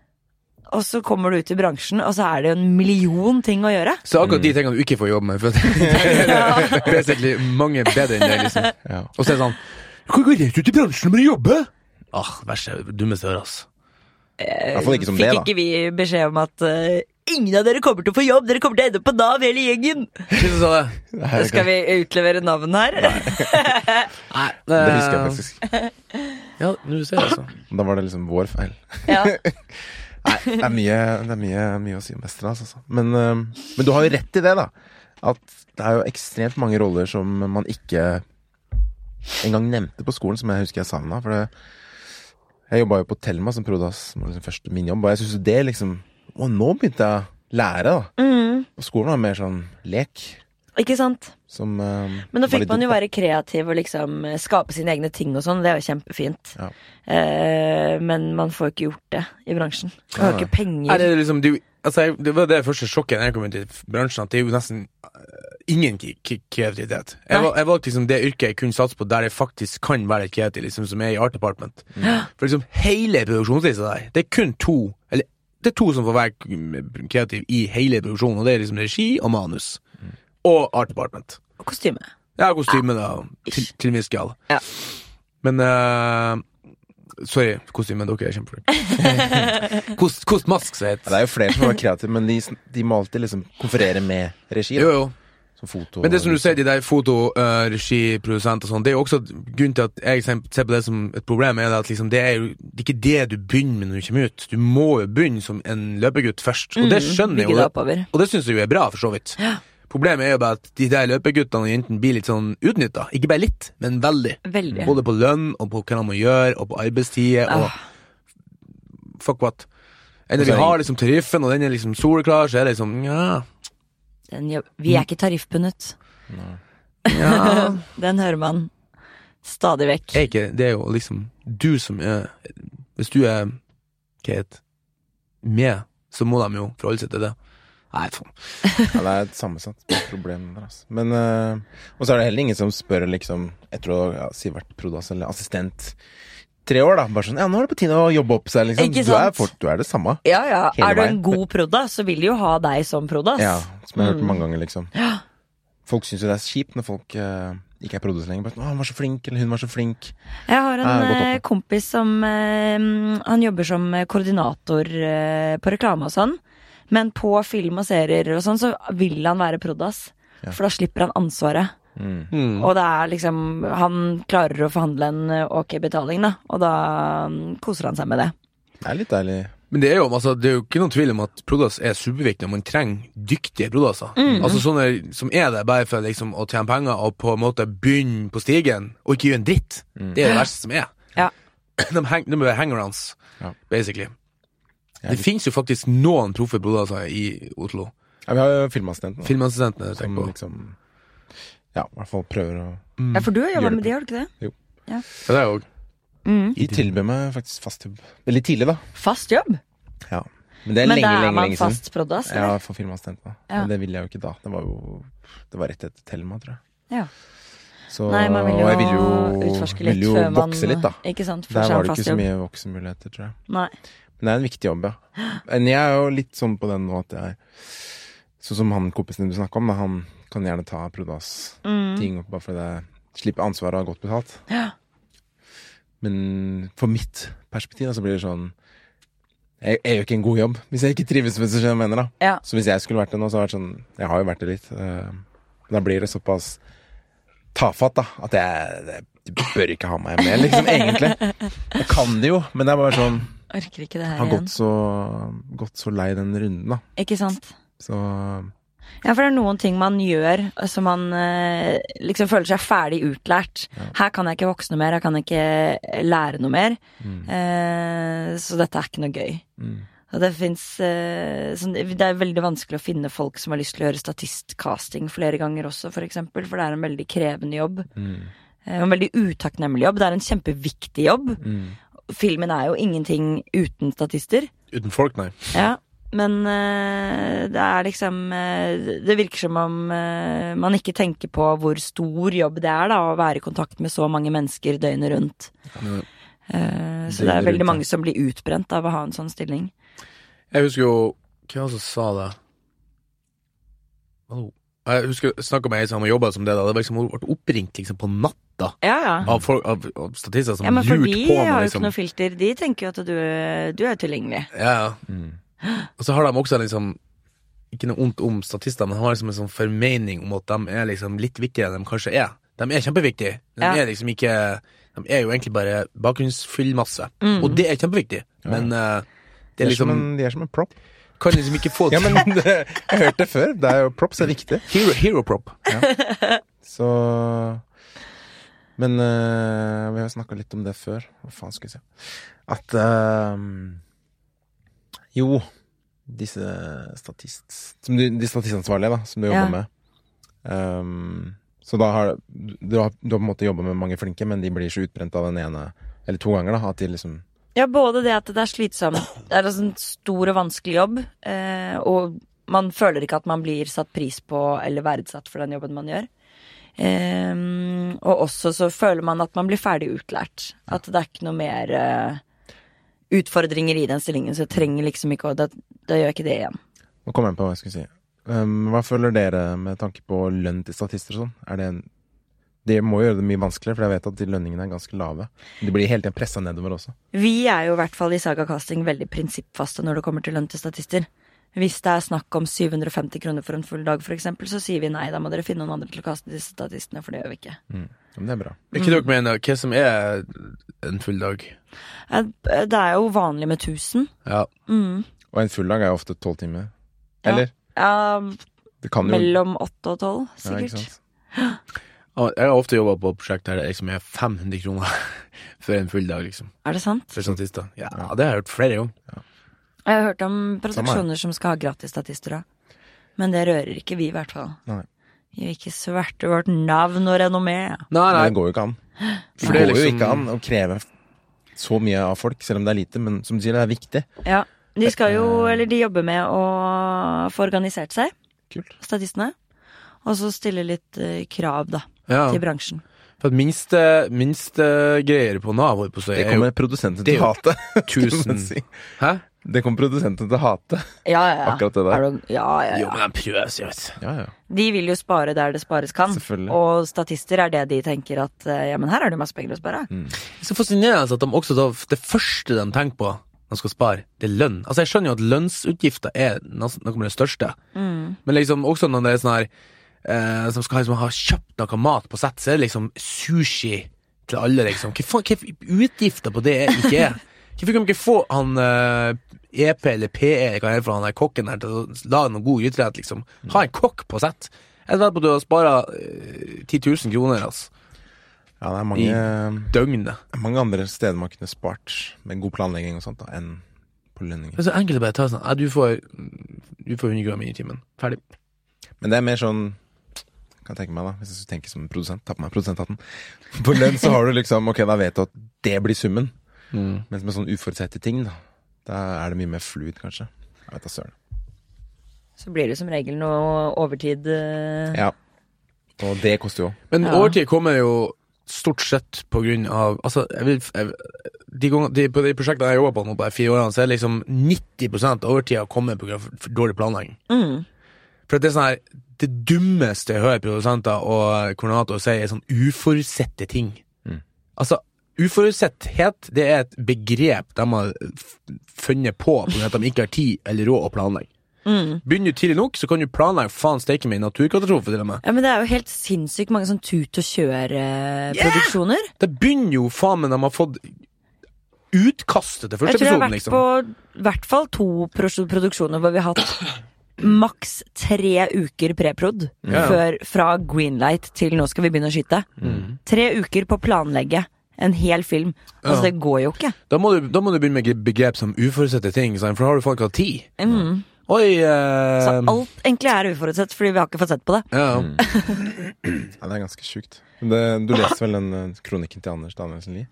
Og så kommer du ut i bransjen, og så er det jo en million ting å gjøre. Så akkurat de tingene du ikke får jobbe med, for det er [laughs] basically mange bedre enn det, liksom. Ja. Og så er det sånn Du kan gå rett ut i bransjen og bare jobbe! Ah, verste dummeste øre, ass. I hvert fall ikke som Eh, Fikk det, da. ikke vi beskjed om at eh, ingen av dere kommer til å få jobb, dere kommer til å ende på Nav hele gjengen. Hvis du sa det. Nei, Skal vi utlevere navn her? Nei, Det husker jeg faktisk. Eh, Ja, nå ser jeg, altså. Da var det liksom vår feil. Ja. Nei, det er mye, det er mye, mye å si om Westerdals, altså. Men, øhm, men du har jo rett i det, da. At det er jo ekstremt mange roller som man ikke engang nevnte på skolen, som jeg husker jeg savna. For det, jeg jobba jo på Thelma som prodas, som var liksom første min jobb, og jeg syns jo det liksom Og nå begynte jeg å lære, da. Mm, På skolen var det mer sånn lek. ikke sant? Som, eh, Men da fikk man jo være kreativ og liksom eh, skape sine egne ting og sånn. Det er jo kjempefint. Ja. Eh, men man får jo ikke gjort det i bransjen. Man har jo ikke Nei, det, penger. er liksom, du, altså jeg, det var det første sjokket da jeg kom inn i bransjen, at det er jo nesten øh, ingen k- k- kreativitet. Jeg, Nei. val- jeg valgte liksom det yrket jeg kunne satse på der jeg faktisk kan være kreativ, liksom, som er i Art [gasps] Department. For liksom hele produksjonslista der, det er kun to, eller det er to som får være k- kreativ i hele produksjonen, og det er liksom regi og manus. Mm. Og Art Department. Og Kostyme. Ja, kostyme, da. og Til, til en viss grad. Ah, Ja. Men øh, Sorry, kostyme. Dere er kjempeflinke. [laughs] Kost, kostmask, som det Ja, heter. Det er jo flere som var kreative, men de, sn- de må alltid liksom konferere med regi. Jo, Da, jo. som foto Men det som du sier, de der foto, eh, regi, produsent og sånn, det er jo også grunnen til at jeg ser ser på det som et problem, er det at liksom det er jo det er ikke det du begynner med når du kommer ut. Du må jo begynne som en løpegutt først, og det skjønner jeg Bygge jo, det oppover. og det syns jeg jo er bra, for så vidt. Problemet er jo bare at de der løpeguttene og jentene blir litt sånn utnytta. Ikke bare litt, men veldig. Veldig. Både på lønn, og på hva de må gjøre, og på arbeidstider, og fuck what. Eller vi har liksom tariffen, og den er liksom soleklar, så er det liksom ja, Den jobb... Vi er ikke tariffbundet. ja. Den hører man stadig vekk. er ikke Det er jo liksom du som er Hvis du er hva het med, så må de jo forholde seg til det. Nei, faen. Ja, det er et sammensatt problem. Der, altså. Men, eh, og så er det heller ingen som spør liksom, etter å ja, si vært prodas eller assistent tre år, da. Bare sånn Ja, nå er det på tide å jobbe opp seg, liksom. Ikke Du er, sant? fort, du er det samme. Ja, ja. Hele Er du en veien. god prodda, så vil de jo ha deg som proddas. Ja, som jeg har hørt mange ganger, liksom. Folk syns jo det er kjipt når folk eh, ikke er produsent lenger. Bare, sånn, «Å, 'Han var så flink', eller 'hun var så flink'. Jeg har en Ja, godt eh, oppe. kompis som eh, Han jobber som koordinator eh, på reklame og sånn. Men på film og serier og sånn, så vil han være prodas. Ja. For da slipper han ansvaret. Hmm. Og det er liksom Han klarer å forhandle en eh, ok betaling, da. Og da mm, koser han seg med det. Det er litt deilig. Men det er jo, altså, det er jo ikke noen tvil om at prodas er superviktig, og man trenger dyktige prodaser. Hmm. Altså sånne som er der bare for liksom, å tjene penger og på en måte begynne på stigen og ikke gjøre en dritt. Hmm. Det er det verste som er. Ja. [clears throat] De, hang, de er hangarounds, Ja. basically. Jeg Det er litt- finnes jo faktisk noen proffe prodaser i Oslo. Ja, vi har jo filmassistenten. da, Filmassistentene jeg som tenker på. liksom Ja, i hvert fall prøver å Ja, for du har jobba Mm. med Gjør det de, har du ikke det? Ja, det er jo Mm. De tilbød meg faktisk fast jobb. Veldig tidlig, da. Fast jobb? Ja. Men det er Men lenge, da er lenge, man lenge siden. fast prodas? Ja, eller? for filmassistenten. da. Ja. Men det ville jeg jo ikke da. Det var jo Det var rett etter Thelma, tror jeg. Ja. Så, Nei, man vil jo, og jeg ville jo utforske litt ville jo før man vokse litt, da. Ikke sant? Får Der seg var en det fast ikke så jobb. mye voksenmuligheter, tror jeg. Nei. Men det er en viktig jobb, ja. Men jeg er jo litt sånn på den nå at jeg Sånn som han kompisen du snakka om, da, han kan gjerne ta Mm. Prodas-ting opp bare fordi jeg slipper ansvaret og har godt betalt. Ja. Men for mitt perspektiv da, så blir det sånn jeg, jeg gjør ikke en god jobb hvis jeg ikke trives med det som jeg mener. da. Ja. Så hvis jeg skulle vært det nå, så hadde det vært sånn Jeg har jo vært det litt. eh, Men da blir det såpass tafatt, da, at jeg det, Du bør ikke ha meg med, liksom, egentlig. Jeg kan det jo, men det er bare sånn Orker ikke det her Har igjen. gått så, gått så lei den runden, da. Ikke sant? Så Ja, for det er noen ting man gjør som man eh, liksom føler seg ferdig utlært. Her kan jeg ikke vokse noe mer, her kan jeg ikke lære noe mer. Eh, så dette er ikke noe gøy. Og det fins eh, sånn, Det er veldig vanskelig å finne folk som har lyst til å gjøre statistcasting flere ganger også, for eksempel. For det er en veldig krevende jobb. Eh, En veldig utakknemlig jobb. Det er en kjempeviktig jobb. Filmen er jo ingenting uten statister. Uten folk, nei. Ja, men eh, det er liksom eh, Det virker som om eh, man ikke tenker på hvor stor jobb det er da å være i kontakt med så mange mennesker døgnet rundt. Eh, så det Døgnet er veldig rundt, mange som blir utbrent av å ha en sånn stilling. Jeg husker jo Hvem var det som sa det? Hallo? Jeg husker snakka med ei som jobba som det. da Det var liksom Hun ble oppringt liksom på natta Ja, ja. av, folk, av, av statister som Ja, men for lurte de på meg. har jo ikke Liksom. noe filter. De tenker jo at du, du er tilgjengelig. Ja, ja. Mm. Og så har de også liksom Ikke noe ondt om statister, men har liksom en sånn formening om at de er liksom litt viktigere enn de kanskje er. De er kjempeviktige. De Ja. er liksom ikke De er jo egentlig bare bakgrunnsfyllmasse. Mm. Og det er kjempeviktig, men eh, de det er, er liksom som en, de er som en prop. Kan liksom ikke få Ja, men det, [laughs] jeg har hørt det før. Det er jo props er viktig. hero, hero prop. Så Men eh, vi har snakka litt om det før. Hva faen skulle jeg si? At eh, Jo, disse statist... Som du, de statistansvarlige, da, som du jobber Ja. med. Ehm, så da har du, du har du har på en måte jobba med mange flinke, men de blir så utbrent av den ene eller to ganger. da, At de liksom Ja, både det at det er slitsomt, det er altså en stor og vanskelig jobb, eh, og man føler ikke at man blir satt pris på eller verdsatt for den jobben man gjør. Eh, og også så føler man at man blir ferdig utlært. At det er ikke noe mer eh, utfordringer i den stillingen, så jeg trenger liksom ikke å Da, da gjør jeg ikke det igjen. Nå kommer jeg på hva jeg skulle si. Ehm, hva føler dere med tanke på lønn til statister og sånn? Er det en det må gjøre det mye vanskeligere, for jeg vet at de lønningene er ganske lave. De blir hele tiden pressa nedover også. Vi er jo i hvert fall i Saga Casting veldig prinsippfaste når det kommer til lønn til statister. Hvis det er snakk om 750 kroner for en full dag, f.eks., så sier vi nei, da må dere finne noen andre til å kaste disse statistene, for det gjør vi ikke. Ja, Men det er bra. Er ikke dere mener hva som er en full dag? Ja, Det er jo vanlig med Mm. 1000. Ja. Og en full dag er jo ofte tolv timer. Ja. Eller? Ja, Det kan jo mellom 8 og 12, Ja, ikke sikkert. sant? Og Jeg har ofte jobba på prosjekt der det liksom er 500 kroner [laughs] for en full dag, liksom. er det sant? For statister. Ja, det har jeg hørt flere ganger. Jeg har hørt om produksjoner som skal ha gratis statister òg. Men det rører ikke vi, i hvert fall. Nei. Gir ikke sverte vårt navn og renommé. Nei, Men nei. Det går jo ikke an. Det For det er går jo liksom- ikke an å kreve så mye av folk, selv om det er lite. Men som du sier, det er viktig. Ja, de skal jo, Eh. eller de jobber med å få organisert seg, Kult. statistene. Og så stille litt eh, krav, da, Ja. til bransjen. For at minste, minste greier på Nav holdt på å si, Det er jo kommer produsenten [laughs] det er til å jo- hate. kan man 1000 si. Hæ? Det kommer produsentene til å hate. Ja, ja, ja. Akkurat det der. Er du, ja, ja, Jo, ja. men den prøves, jo. vet du. Ja, ja. De vil jo spare der det spares kan. Selvfølgelig. Og statister er det de tenker at eh, ja, men her er det jo masse penger å spare. Det er så fascinerende at de også da, det første de tenker på når de skal spare, det er lønn. Altså Jeg skjønner jo at lønnsutgifter er nas- noe av det største, men liksom også når det er sånn her eh, Som skal liksom, ha kjøpt noe mat på sett, så er det liksom sushi til alle, liksom. Hva faen, hva utgifter på det er ikke er? Hvorfor kan vi ikke få han eh, EP eller PE, hva er det for han der kokken her, til å lage noe god utrett, liksom? Ha en kokk på sett. Jeg vet på at du har spara 10 000 kroner, altså. ja, det er mange, Døgnet. mange andre steder man kunne spart med god planlegging og sånt, da, enn på lønninger. Det er så enkelt å bare ta sånn «Nei, du, får, du får 100 gram i timen. Ferdig. Men det er mer sånn kan jeg tenke meg da, Hvis jeg tenker som en produsent, ta på meg produsenthatten. [laughs] På lønn så har du liksom Ok, da vet du at det blir summen. Mens med sånn uforutsette ting, da, da er det mye mer fluid, kanskje. Jeg vet da søren. Så blir det som regel noe overtid. eh, Ja. Og det koster jo. Men Ja. overtid kommer jo stort sett på grunn av altså, jeg vil, jeg, de, ganger- de, På de prosjektene jeg jobber på nå på de fire årene, så er liksom 90 av overtida kommer på grunn av for dårlig planlegging. Mm. For at det er sånn her Det dummeste jeg hører produsenter og koordinatorer si, er sånn uforutsette ting. Mm. Altså, uforutsetthet, det er et begrep de har f- funnet på fordi at de ikke har tid eller råd å planlegge. Mm. Begynner du tidlig nok, så kan du planlegge faen steike meg naturkatastrofe til og med. Ja, men det er jo helt sinnssykt mange sånn tut og eh, kjør-produksjoner. Det begynner jo faen meg når man har fått utkastet til Jeg første tror jeg episoden, har vært liksom. på i hvert fall to pros- produksjoner hvor vi har hatt maks tre uker preprod. ja. Før, fra greenlight til nå skal vi begynne å skyte. Mm. Tre uker på å planlegge en hel film. Altså, Ja. det går jo ikke. Da må, du, da må du begynne med begrep som uforutsette ting, sant, for da har du faen ikke hatt tid. Oi eh, Mm. Så alt egentlig er uforutsett, fordi vi har ikke fått sett på det. ja. Ja, det er ganske sjukt. Men Det, du leste vel den eh, kronikken til Anders Danielsen Lie?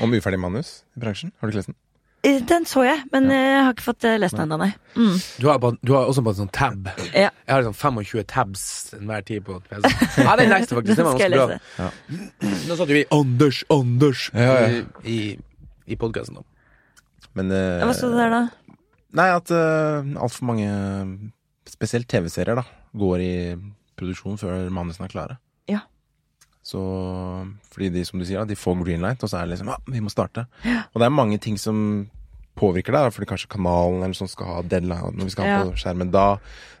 Om uferdig manus i bransjen? Har du ikke lest den? Eh, Den så jeg, men eh, jeg har ikke fått eh, lest den ennå, nei. Mm. Du, har på, du har også på en sånn tab. Ja. Jeg har sånn 25 tabs enhver tid på PC. Ja, den leste jeg faktisk. Den Den var [laughs] skal jeg ganske bra. lese. Nå satt jo vi Anders, Anders Ja, ja. i, i, i podkasten, da. Men eh, Hva sto det der, da? Nei, at uh, altfor mange, spesielt TV-serier, da, går i produksjon før manusene er klare. Ja. Så fordi de, som du sier, da, de får greenlight, og så er det liksom Ja, vi må starte. Og det er mange ting som påvirker deg, da, fordi kanskje kanalen eller sånn skal ha deadline når vi skal ha Ja. på skjermen da.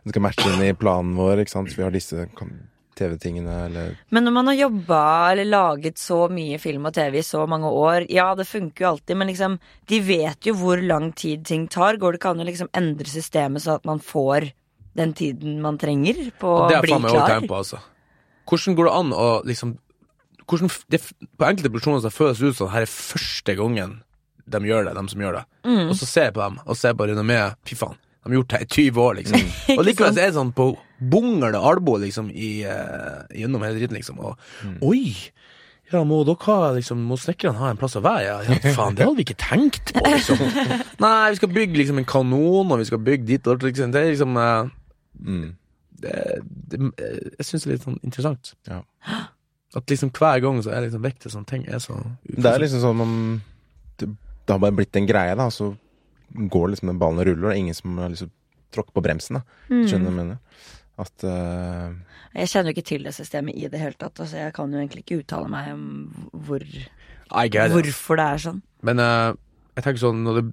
Det skal matche inn i planen vår, ikke sant. Så vi har disse kan- TV-tingene eller Men når man har jobba eller laget så mye film og TV i så mange år Ja, det funker jo alltid, men liksom De vet jo hvor lang tid ting tar. Går det ikke an å liksom endre systemet så at man får den tiden man trenger på å Det er bli faen meg all klar? time på, altså. Hvordan går det an å liksom hvordan, f- det, f- På enkelte personer så føles det ut som her er første gangen de gjør det, de som gjør det. Mm. Og så ser jeg på dem, og ser på renommeet. Fy faen, de har gjort det i 20 år, liksom. Mm. [laughs] og likevel så er det sånn på bungel og albu, liksom, i, eh, gjennom hele dritten, liksom. Og oi! Ja, må dere ha, liksom, må snekkerne ha en plass å være? Ja, ja, faen, det hadde vi ikke tenkt på, [laughs] liksom. Nei, vi skal bygge liksom en kanon, og vi skal bygge dit og dit, liksom. Det er liksom eh, Mm. det, det, jeg syns det er litt sånn interessant. Ja. [gasps] At liksom hver gang så er liksom vekta sånn ting er så Det er liksom sånn om det, det har bare blitt en greie, da. og Så går liksom den ballen og ruller, og det er ingen som har lyst til å tråkke på bremsen. da Skjønner du hva jeg mener? At eh, Jeg kjenner jo ikke til det systemet i det hele tatt, så jeg kan jo egentlig ikke uttale meg om hvor, I get it. hvorfor det er sånn. Men eh, jeg tenker sånn når det,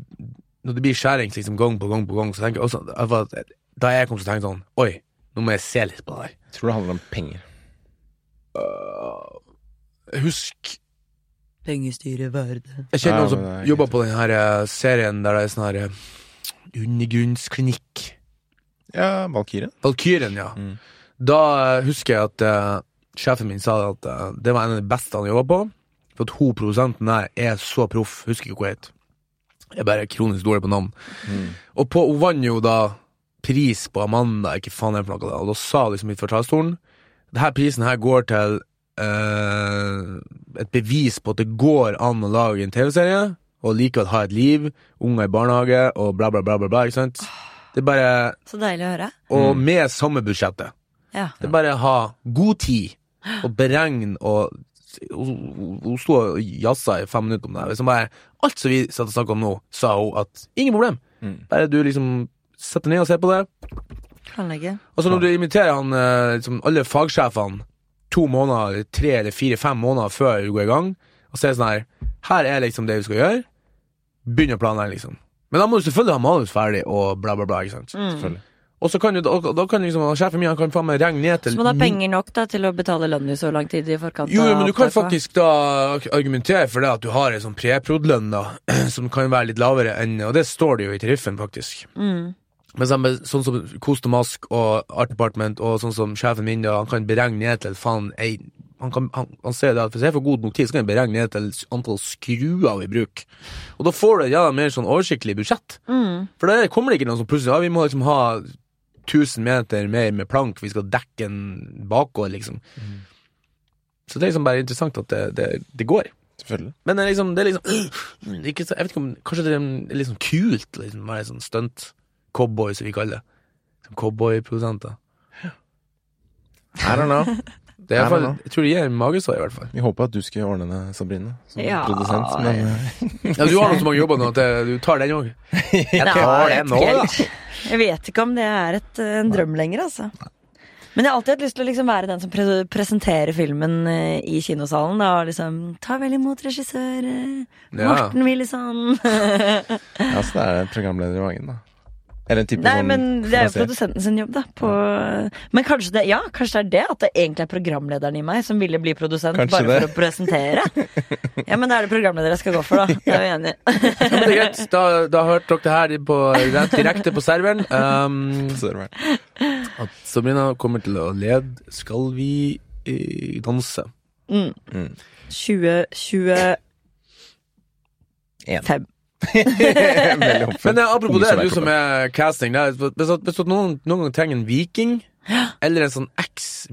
når det blir skjæring liksom, gang på gang på gang, så tenker jeg også jeg var- Da jeg kom, så tenkte jeg sånn Oi, nå må jeg se litt på det her. Jeg tror det handler om penger. Husk Pengestyret verden. Jeg kjenner Ja, noen men det er som jobber på den her eh, serien der det er sånn her eh, undergrunnsklinikk. Ja, Valkyrien. Valkyrien, ja. Mm. Da eh, husker jeg at eh, sjefen min sa at eh, det var en av de beste han jobba på. For at hun produsenten der er så proff. Husker ikke hva hun het. Jeg er bare kronisk dårlig på navn. Og på, hun vant jo da pris på Amanda, ikke faen jeg for noe da. Og da sa hun liksom litt fra talerstolen Denne prisen her går til eh, et bevis på at det går an å lage en TV-serie, og likevel ha et liv, unger i barnehage og bla, bla, bla, bla, bla ikke sant? Det er bare Så deilig å høre. og med samme budsjettet. Ja. Det er bare å ha god tid og beregne og Hun, hun, hun sto og jazza i fem minutter om det her. Liksom bare, alt som vi satt og snakka om nå, sa hun at ingen problem. Mm. Bare du liksom setter deg ned og ser på det. Planlegge. Altså Når du inviterer han, eh, liksom, alle fagsjefene to måneder, tre eller fire-fem måneder før du går i gang, og så er det sånn her Her er liksom det vi skal gjøre. Begynn å planlegge, liksom. Men da må du selvfølgelig ha manus ferdig og bla, bla, bla. ikke sant? Selvfølgelig. Og så kan du, da, da kan liksom, sjefen min han kan faen meg regne ned til Så må du ha min- penger nok da til å betale lønn i så lang tid i forkant. Jo, jo, av men du kan opptaket. faktisk da argumentere for det at du har en sånn preprod-lønn da, [clears throat] som kan være litt lavere enn Og det står det jo i tariffen, faktisk. Mm. Men sånn med- sånn som Kost og Mask og Art Department og sånn som sjefen min, da, han kan beregne ned til faen ei han, kan, han, han ser det at hvis jeg får god nok tid, så kan jeg beregne ned til antall skruer vi bruker. Og da får du et jævla mer sånn oversiktlig budsjett. Mm. For da kommer det ikke noen som plutselig Ja, vi må liksom ha 1000 meter mer med plank, vi skal dekke en bakgård, liksom. Så det er liksom bare interessant at det, det, det går. Selvfølgelig. Men det er liksom, det er liksom [clears throat] det er ikke så, Jeg vet ikke om Kanskje det er litt liksom sånn kult, liksom, å være sånn stunt cowboy, som vi kaller det. Som Cowboyprodusenter. I don't know. Det er i hvert Nei, fall, nei, jeg tror det gir magesår, i hvert fall. Vi håper at du skulle ordne det, Sabrine, som Ja. produsent. Men eh, Ja, du har nå så mange jobber nå at det- du tar den òg. Jeg Nei, tar jeg den vet nå, ikke da. helt. Jeg vet ikke om det er et, eh, en drøm lenger, altså. Men jeg har alltid hatt lyst til å liksom være den som pre presenterer filmen eh, i kinosalen. Da, og liksom, Ta vel imot regissør eh, Ja. sånn Morten Willisson. ja, så det er programleder i magen, da. Eller en type Nei, sånn men det er jo finansier. produsenten sin jobb, da. På, men kanskje det, ja, kanskje det er det. At det egentlig er programlederen i meg som ville bli produsent Kanskje bare det. for å presentere. [laughs] Ja, men da er det programleder jeg skal gå for, da. Jeg er jo enig. Ja, men det er greit. Da, da hørte dere det her på, direkte på serveren. Um, Serveren. at Sabrina kommer til å lede Skal vi eh, danse? 2025. En. Veldig Men eh, apropos Unge det, som er du som er casting der, hvis, at- hvis at noen noen gang trenger en viking, eller en sånn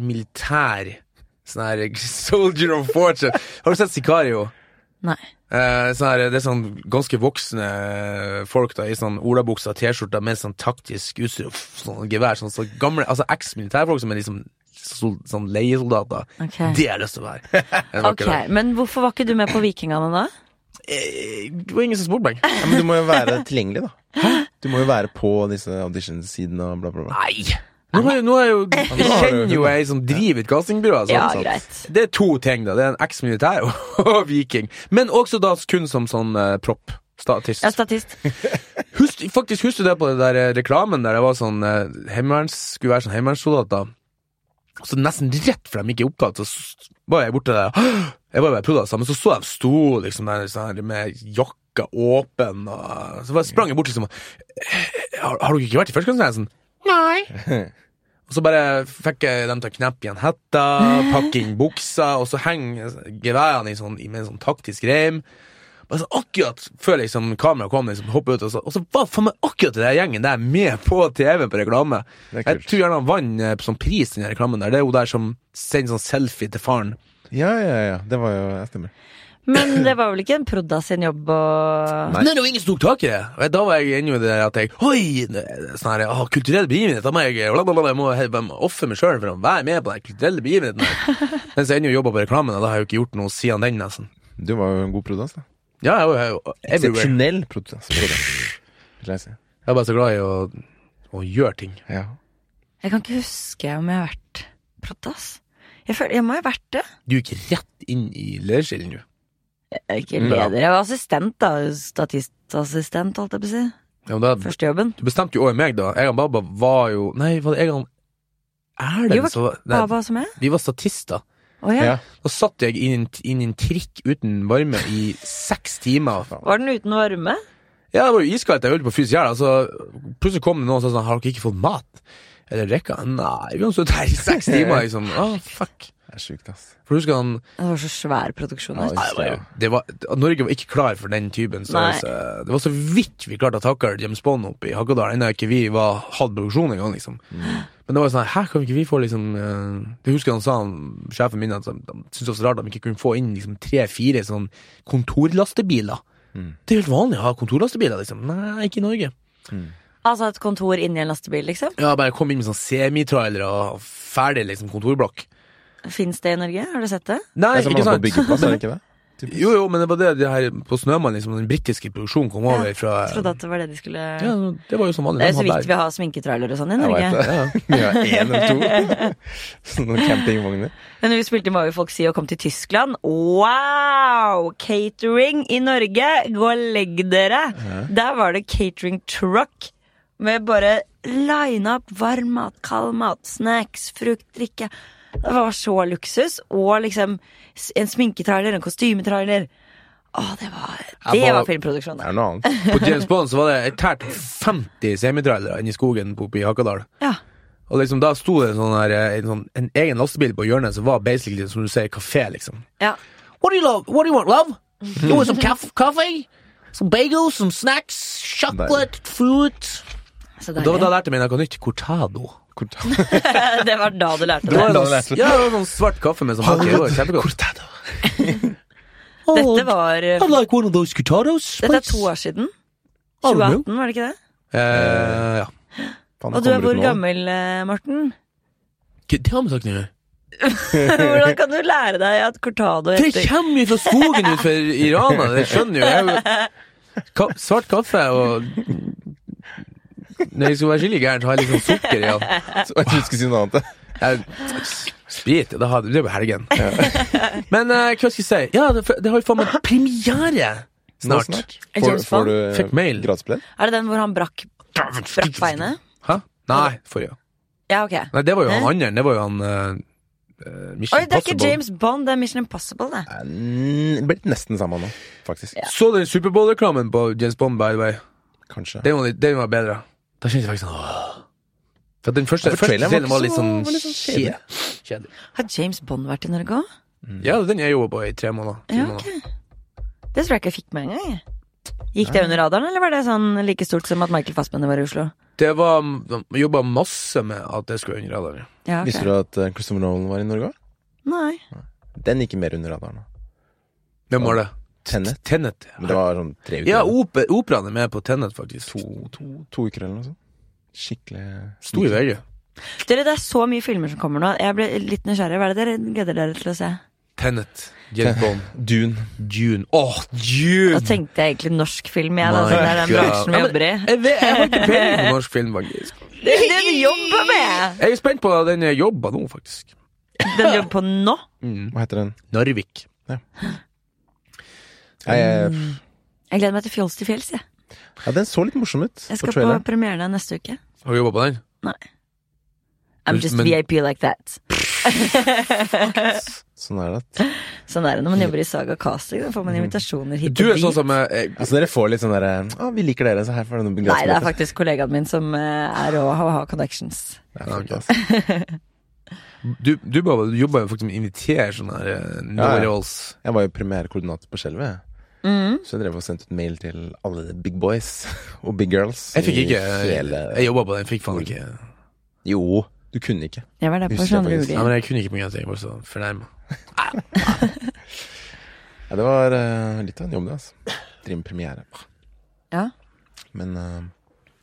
eks-militær Sånn her Soldier of Fortune Har du sett Sicario? Nei. Eh, sånn her, det er sånn ganske voksne folk da i sånn olabukser og T-skjorter med sånn taktisk utstyr og f- sånn gevær. Sånn, så gamle, altså eks-militærfolk som er liksom sol, sånn leiesoldater. Ok. Det har jeg lyst til å [laughs] være. Jeg var Ok, ikke det. Men hvorfor var ikke du med på Vikingene da? Eh, Det var ingen som spurte meg. Ja, men du må jo være tilgjengelig, da. Du må jo være på disse auditionsidene og bla, bla, bla. Nei! Nå er, nå er jo, jeg kjenner jo ei som driver et castingbyrå. altså, sant? Ja, greit. Det er to ting, da. Det er en eks-militær og [laughs] viking. Men også da kun som sånn eh, propp. Statist. Ja, statist. Husk, faktisk, husker du det på den der eh, reklamen der det var sånn eh, heimeverns, skulle være sånn heimevernssoldater? Så nesten rett før de gikk i opptak, så s- var jeg borte der. [gasps] Jeg var bare prodd av det samme, så så jeg de sto liksom der sånn her med jakka åpen, og så bare sprang jeg bort liksom og Har, har dere ikke vært i førstegangstjenesten? Nei. [laughs] Og så bare fikk jeg dem til å kneppe igjen hetta, pakke inn buksa, og så henger geværene i sånn, med en sånn taktisk reim. Bare så akkurat før liksom kameraet kom, liksom, hoppet ut, og så, og så var faen meg akkurat den der gjengen der med på TV på reklame. Det er Jeg kult. tror gjerne han vant eh, som pris, den her reklamen der. Det er hun der som sender sånn selfie til faren. Ja, ja, ja. Det var jo Jeg stemmer. Men det var vel ikke en Prodda sin jobb å Nei, det var ingen som tok tak i det. Og jeg- Da var jeg ennå i det der at jeg Oi! det er Sånn her, ah, kulturell begivenhet. Da må jeg bla, bla, bla, jeg må, jeg må ofre meg sjøl for å være med på den kulturelle begivenheten. [laughs] her. Mens jeg ennå jobba på reklamen, og da har jeg jo ikke gjort noe siden den, nesten. Du var jo en god produsent, da. Ja, jeg er jo everywhere. Eksepsjonell produsent, vil jeg si. Jeg er bare så glad i å, å gjøre ting. Ja. Jeg kan ikke huske om jeg har vært Prodda, ass. Jeg, føler, jeg må jo ha vært det. Du gikk rett inn i lederskillen, du. Jeg er ikke Mm. leder. Jeg var assistent, da. Statistassistent, holdt jeg på å si. Ja, men da, Førstejobben. du bestemte jo over meg, da. Jeg og Baba var jo Nei, var det jeg og han Jo, Erlend som var Nei, Baba som jeg. vi var statister. Å ja. ja. Da satt jeg inn i en- inn i en trikk uten varme i seks timer. Var den uten varme? Ja, det var jo iskaldt. Jeg holdt på å fryse i hjel. Altså, plutselig kom det noen som sa sånn, har dere ikke fått mat? Eller rekka? Nei, vi har sittet her i [laughs] seks timer, liksom. Ah, fuck. Det er sjukt, ass. For du husker han Det var så svær produksjon. Ja, vet du. Nei, det var jo, det var, Norge var ikke klar for den typen størrelse. Det var så vidt vi klarte å takle James Bond oppe i Hakadal, ennå ikke vi var, hadde produksjon engang, liksom. Men det var jo sånn her, her kan ikke vi få liksom eh, Jeg husker han sa, han, sjefen min, at de de syntes det var så rart at de ikke kunne få inn liksom tre-fire sånn kontorlastebiler. Det er jo helt vanlig å ha kontorlastebiler, liksom. Nei, ikke i Norge. Altså et kontor inni en lastebil, liksom. Ja, bare kom inn med sånn semitrailer og ferdig liksom kontorblokk. Fins det i Norge? Har du sett det? Nei, Det er som ikke man har på sant? byggeplass, er [laughs] det ikke det? Jo, jo, men det var det, det her på Snømann, liksom, den britiske produksjonen kom over fra Jeg trodde at det var det de skulle ja, Det var jo som vanlig. Det er de så hadde vidt vi har sminketrailere og sånn i Jeg Norge. vet det. Vi har én eller to. [laughs] Sånne campingvogner. Men når vi spilte i Må vi folk si og kom til Tyskland Wow! Catering i Norge! Gå og legg dere! Der var det catering truck med bare line up varm mat, kald mat, snacks, frukt, drikke. Det var så luksus. Og liksom s- en sminketrailer, en kostymetrailer. Å, det var, Jeg det var- var filmproduksjon. Det da. er noe annet. På James Bond så var det tært 50 semitrailere inne i skogen oppe i Hakadal. Ja. Og liksom da sto det en, sånn her, eh, en, sånn, en egen lastebil på hjørnet som var basically som du sier, kafé, liksom. Mhm. ja. What do you love? What do you want, love? You want some cof- coffee? Some bagels, some snacks, chocolate, fruit. Så Og da, da deilig. lærte jeg meg noe nytt. Cortado. [laughs] det var da du lærte Det det. var, Da en lærte du. sånn, ja, det var sånn svart kaffe med sånn pakke. Det var kjempegodt. Dette var I'd like one of those cortados. Dette er please. to år siden. Har du 2018, var det ikke det? Eh, ja. Faen, det Og du er kommer ut hvor nå. gammel, eh, Morten? [laughs] Hva- Det har vi sagt nå. Hvordan kan du lære deg at cortado Det heter kommer jo fra skogen utenfor Iran, og det skjønner jo jeg. jo. Ka svart kaffe og Når jeg skal være skikkelig gæren, så har jeg litt sånn sukker i den. Så Jeg trodde du skulle si noe annet. [laughs] Jeg- Sprit, det har- det er jo helgen. Men eh, hva skal jeg si? Ja, det, det har jo faen meg premiere Nå snart. Er Får, James får Bond? du eh, Fikk mail. gradsbillett? Er det den hvor han brakk, brakk beinet? Hæ? Nei, forrige. Ja, ok. Nei, det var jo han Hæ? andre. Det var jo han eh, eh, Mission Oi, det er ikke Impossible. James Bond, det er Mission Impossible, det. Nei, Eh, n- Blitt nesten sammen nå, faktisk. Så den Superbowl-reklamen på James Bond, by the way. Kanskje. Den var, litt- den var bedre. Da kjente jeg faktisk sånn åh. For den første, Ja, for første traileren var traileren var ikke litt så- sånn var litt sånn kjedelig. kje- kjedelig. Mm. Har James Bond vært i Norge òg? Ja, den jeg jobba på i tre måneder. Fire Ja, måneder. ok. Det tror jeg ikke jeg fikk med engang. jeg. Gikk det under radaren, eller var det sånn like stort som at Michael Fassbender var i Oslo? Det var Jobba masse med at det skulle under radaren. Ja, ok. Visste du at eh, Christopher Nolan var i Norge òg? Nei. Den gikk mer under radaren. da. Hvem var det? Tenet. Tennet. Men det var sånn tre uker. Ja, eller oper, operaen er med på Tennet, faktisk. noe. to, to uker eller noe sånt. Skikkelig Stor VG. Dere, det er så mye filmer som kommer nå. Jeg ble litt nysgjerrig. Hva er det dere gleder dere til å se? Tennet. [laughs] James Bond. Dune. Dune. Åh, Da Dune! tenkte jeg egentlig norsk film, jeg. Da, My siden det er den God. bransjen vi Ja, men- jobber i. Jeg, vet, jeg har ikke peiling på norsk film, faktisk. Det er det du jobber [laughs] med! Jeg er spent på den jeg jobber nå, faktisk. Den jobber på nå. Hva heter den? Narvik. Nei, jeg, Mm. Jeg gleder meg til Fjols til fjells, jeg. ja, den så litt morsom ut Jeg skal på på traileren. premiere neste uke. Har du jobba på den? I'm just Men- VIP like that. Sånn er det. at- Sånn er det når man jobber i Saga Casting. Da får man invitasjoner hit Du og er dit. sånn som eh, eh, Altså, dere får litt sånn derre Å, vi liker dere, så her får dere noen Nei, det er gradsbilletter. faktisk kollegaen min som eh, er rå og har connections. Det er fantastisk. Du, du, bare, du jobber jo faktisk med å invitere sånne her eh, Ja, ja. no-rolls. Jeg var jo premierekoordinator på skjelvet. jeg. Mm. Så jeg drev og sendte ut mail til alle the big boys [laughs] og big girls. Jeg fikk i ikke hele... Jeg jobba på den, fikk faen ikke Jo, du kunne ikke. Jeg var der på Husker jeg sånn faktisk. rolig. Nei, men jeg kunne ikke på grunn av at jeg var så fornærma. Ja, det var eh, litt av en jobb, det. altså. Drive med premiere. Ja. Men uh,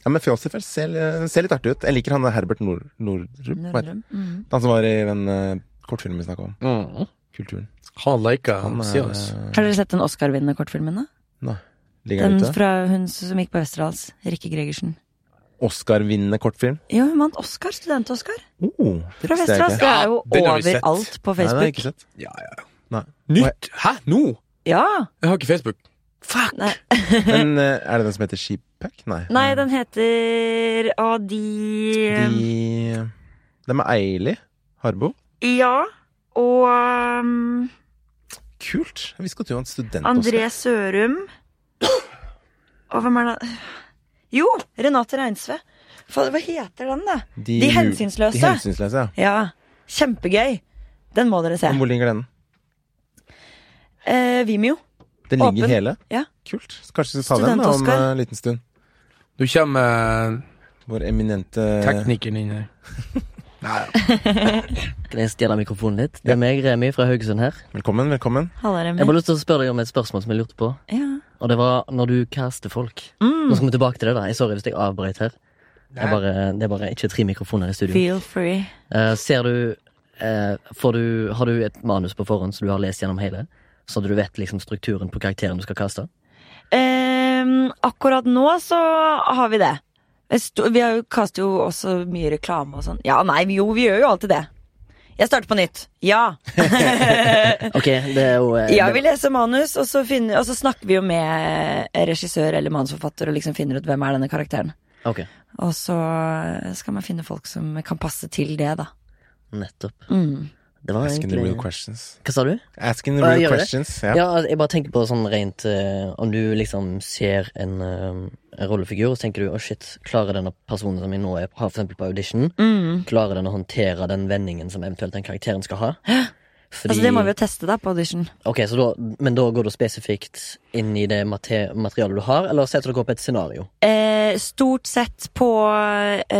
ja, men Fjolsifer ser, li- ser litt artig ut. Jeg liker han der Herbert Nord, Nordrup. hva heter han? Mhm. Han som var i den eh, kortfilmen vi snakka om. Kulturen. Han lika Mm. Han er, siden oss. eh, Har dere sett den Oscar-vinnende kortfilmen? da? ligger Den han ute? fra hun som gikk på Westerdals. Rikke Gregersen. Oscar-vinnende kortfilm. Jo, hun vant Oscar. Student-Oscar. Oh, det Fra visste jeg Westerdals. ikke. Det er jo den har vi sett. overalt på Nei, det har jeg Facebook. ikke sett. Ja, ja. ja. Nei. Nytt? Hæ? Nå? Ja! Jeg har ikke Facebook. Fuck! Nei. Men eh, er det den som heter Sheepack? Nei. Nei, den heter Å, de, De De er Eili Harbo. Ja. Og um, Kult. Jeg visste ikke at du var en student. André Oskar. Sørum. Og hvem er det Jo, Renate Reinsve. Fader, hva heter den, da? De, De hensynsløse. De hensynsløse, ja. Ja, kjempegøy. Den må dere se. Men Hvor ligger den? Eh, Vimeo. Den ligger Åpen. hele? Ja. Kult. Så kanskje vi skal ta den da, om Student-Oskar. eh, en liten stund. Nå kommer Vår eminente eh, teknikeren inn her. Kan jeg stjele mikrofonen litt? Det er meg, Remi fra Haugesund her. Velkommen, velkommen. Halla, Remi. Jeg har bare lyst til å spørre deg om et spørsmål som jeg lurte på. Ja. Og det var når du caster folk. Nå skal vi tilbake til det, da. Jeg Sorry hvis jeg avbrøt her. Jeg bare, det er bare ikke tre mikrofoner i studio. Feel free. Eh, ser du Eh, får du, har du et manus på forhånd som du har lest gjennom hele? Så du vet liksom strukturen på karakteren du skal kaste? Ehm, akkurat nå så har vi det. Jeg sto- Vi har jo kastet jo også mye reklame og sånn. Ja, nei, jo, vi gjør jo alltid det. Jeg starter på nytt. Ja. Ok, det er jo eh, Ja, det- vi leser manus, og så, finner, og så snakker vi jo med eh, regissør eller manusforfatter og liksom finner ut hvem er denne karakteren. Ok, Og så eh, skal man finne folk som kan passe til det, da. nettopp. Mm. Det var Asking the real egentlig questions. Hva sa du? Asking the Ja, real gjør det. questions, ja. Ja, jeg bare tenker på sånn rent eh, Om du liksom ser en, eh, en rollefigur, så tenker du å shit, klarer denne personen som jeg nå er, har for eksempel på audition, Mm. klarer den å håndtere den vendingen som eventuelt den karakteren skal ha? Fordi, Altså, det må vi jo teste da på audition. Ok, så da, Men da går du spesifikt inn i det mate materialet du har, eller setter dere opp et scenario? Eh, stort sett på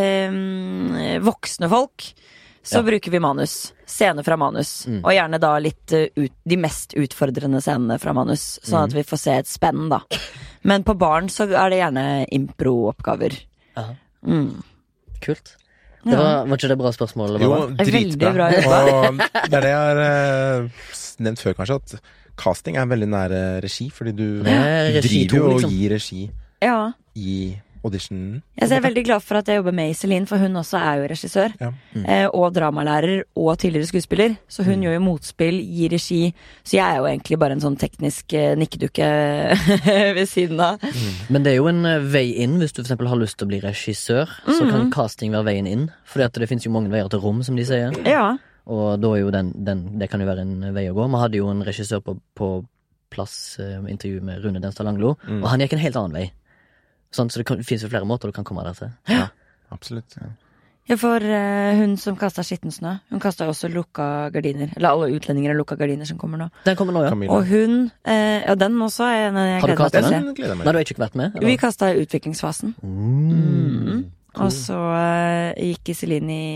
eh, voksne folk så Ja. Mm. bruker vi manus. Scener fra manus. Og gjerne da litt eh, ut, de mest utfordrende scenene fra manus. Sånn Mm. at vi får se et spenn, da. Men på barn så er det gjerne impro-oppgaver. Aha. Mm. Kult. Det var, var ikke det bra spørsmål? eller Jo, hva det var? dritbra. Veldig bra og um, det er det jeg har eh, s- nevnt før, kanskje, at casting er veldig nære regi, fordi du Ja, regi driver jo to, og liksom. gir regi Ja. i auditionen. Jeg er veldig glad for at jeg jobber med Iselin, for hun også er jo regissør. Ja. Mm. eh, Og dramalærer og tidligere skuespiller. Så hun gjør jo motspill, gir regi. Så jeg er jo egentlig bare en sånn teknisk eh, nikkedukke [laughs] ved siden av. Men det er jo en eh, vei inn hvis du for eksempel har lyst til å bli regissør. Så Mm. kan casting være veien inn. Fordi at det finnes jo mange veier til rom, som de sier. Ja. Og da er jo den, den Det kan jo være en vei å gå. Vi hadde jo en regissør på, på plass, eh, intervju med Rune Denstad Langlo, Mm. og han gikk en helt annen vei. Sånn, så det, kan, det finnes jo flere måter du kan komme der til. Absolutt. Ja, for eh, hun som kasta skitten snø, hun kasta også lukka gardiner. Eller alle utlendinger har lukka gardiner som kommer nå. [gasps] Den kommer nå, ja. Camilla. Og hun eh, Ja, den også er en jeg Har gleder meg til du å kastet se. Den gleder jeg meg Nei, til. du har ikke vært med? Vi Eller? kasta i utviklingsfasen. Mm. Og så eh, gikk Iselin i,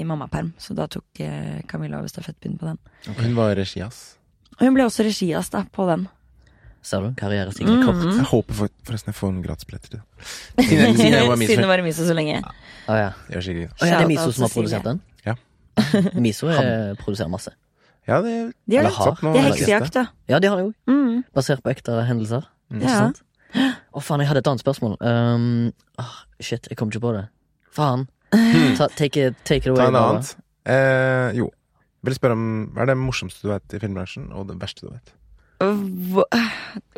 i mammaperm, så da tok eh, Camilla over stafettpinnen på den. Hun var regi, ass. Og hun ble også regias da, på den. Ser du? Mm. Karrierestigen er kort. Jeg håper for, forresten jeg får en gratisbillett [laughs] til det. Siden jeg- siden jeg var [laughs] min Siden det var i Miso så lenge. Å ja. Det gjør sikkert Å, ja. Det er Miso Shoutout som Cecilie. har produsert den? Ja. [laughs] Miso eh, produserer masse. Ja, det De har Eller det. har. satt noe Det er av det heksejakt, da. Ja, det har jeg jo. Mm. Basert på ekte hendelser. Mm. Ikke Ja. sant? Å, faen, jeg hadde et annet spørsmål. Um, ah, shit, jeg kom ikke på det. Faen. Ta, take, it, take it away. Hmm. Ta en Nora. annet. Eh, jo. Vil spørre om Hva er det morsomste du vet i filmbransjen, og det verste du vet? Hva-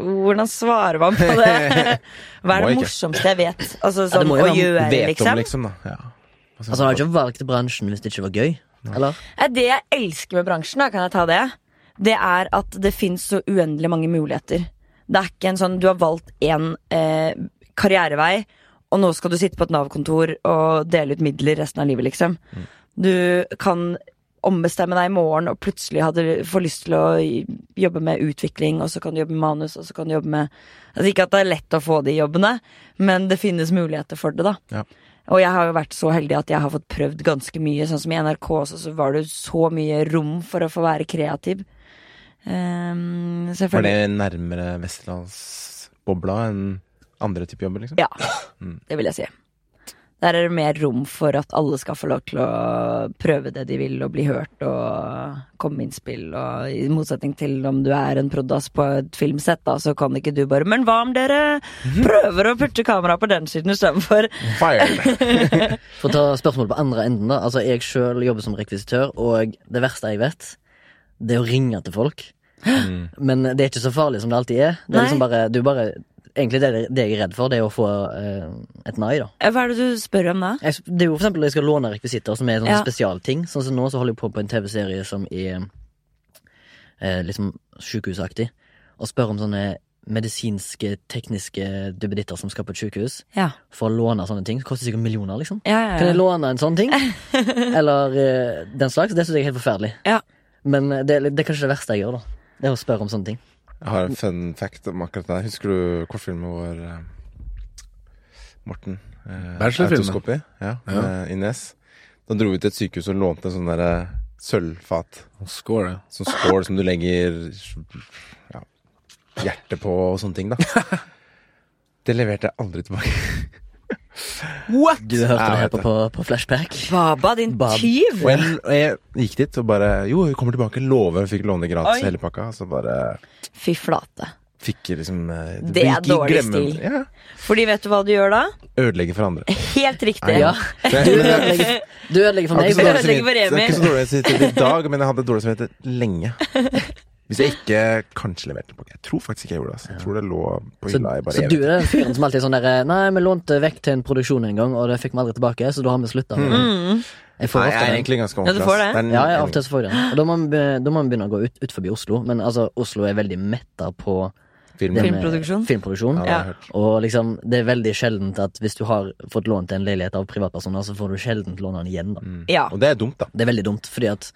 Hvordan svarer man på det? Hva er Må det ikke. morsomste jeg vet? Altså sånn må å jo være gjøre, Vet om, liksom? liksom, da. Ja. Hva synes Altså, Han hadde du? ikke valgt bransjen hvis det ikke var gøy. Eller? Eh, Det jeg elsker med bransjen, da, kan jeg ta det, det er at det fins så uendelig mange muligheter. Det er ikke en sånn du har valgt én eh, karrierevei, og nå skal du sitte på et Nav-kontor og dele ut midler resten av livet, liksom. Du kan ombestemme deg i morgen og plutselig hadde, får lyst til å jobbe med utvikling, og så kan du jobbe med manus, og så kan du jobbe med Altså ikke at det er lett å få de jobbene, men det finnes muligheter for det, da. Ja. Og jeg har jo vært så heldig at jeg har fått prøvd ganske mye. Sånn som i NRK også, så var det jo så mye rom for å få være kreativ. Um, Var selvfølgelig. det nærmere vestlandsbobla enn andre typer jobber, liksom? Ja. Det vil jeg si. Der er det mer rom for at alle skal få lov til å prøve det de vil, og bli hørt og komme med innspill. Og i motsetning til om du er en prod.ass på et filmsett, da, så kan ikke du bare Men hva om dere prøver å putte kameraet på den siden istedenfor? Fire! For å ta spørsmålet på andre enden, da. Altså, Jeg sjøl jobber som rekvisitør, og det verste jeg vet, det er å ringe til folk. Mm. Men det er ikke så farlig som det alltid er. Det er Nei. liksom bare, du bare Egentlig det, det jeg er redd for, det er å få eh, et nei, da. Hva er det du spør om da? Jeg, sp- det er jo for eksempel jeg skal låne rekvisitter som er sånne Ja. spesialting. Sånn som nå så holder jeg på på en TV-serie som er eh, liksom sykehusaktig. Og spør om sånne medisinske, tekniske duppeditter som skal på et sykehus. Ja. For å låne sånne ting. Det koster sikkert millioner, liksom. Ja, ja, Kan jeg ja. låne en [laughs] sånn ting? Eller eh, den slags. Det syns jeg er helt forferdelig. Ja. Men eh, det, er litt- det er kanskje det verste jeg gjør, da. Det er å spørre om sånne ting. Jeg har en fun fact om akkurat det. her. Husker du kortfilmen vår eh, Morten? Eh, Bachelorfilmen. Autoskopi? Ja, med Ines. Da dro vi til et sykehus og lånte en sånn derre sølvfat. Score, det. Sånn skål som du legger ja, [laughs] hjertet på og sånne ting, da. Det leverte jeg aldri tilbake. What? Du hørte Jeg det her vet på, det. på, på flashback. Baba, din Bab. tyv! Og jeg, og jeg gikk dit og bare Jo, hun kommer tilbake. Love. Hun fikk låne det gratis Oi. hele pakka. Så bare Fy flate. fikk jeg liksom eh, Det er ikke dårlig glemme- stil. Ja. Fordi vet du hva du gjør da? Ødelegge for [laughs] andre. Helt riktig. Ja. Det, Du ødelegger, du ødelegger for Jeg meg. har så- dårlig ødelegger for samvittighet- Emil. ikke så dårlig samvittighet i dag, men jeg hadde dårlig samvittighet [laughs] lenge. Hvis jeg ikke kanskje leverte pakke. Jeg tror faktisk ikke jeg gjorde det. Altså. Jeg tror det lå på Så, hylla i bare så du evig. er den fyren som alltid er sånn der Nei, vi lånte vekk til en produksjon en gang, og det fikk vi aldri tilbake, så da har vi slutta. Jeg Mm. Nei, får jeg er ofte den. egentlig ganske Ja, du ordentlig. får ass. det. er Ja, ja, en- av og til så får jeg den. Og da må, man be- da må man begynne å gå ut, ut forbi Oslo. Men altså, Oslo er veldig metta på film. det med Filmproduksjon. filmproduksjon. Ja, det har jeg Ja. hørt. Og liksom, det er veldig sjeldent at hvis du har fått lånt en leilighet av privatpersoner, så får du sjelden låne den igjen. da. Ja. Og det er dumt, da. Det er veldig dumt, fordi at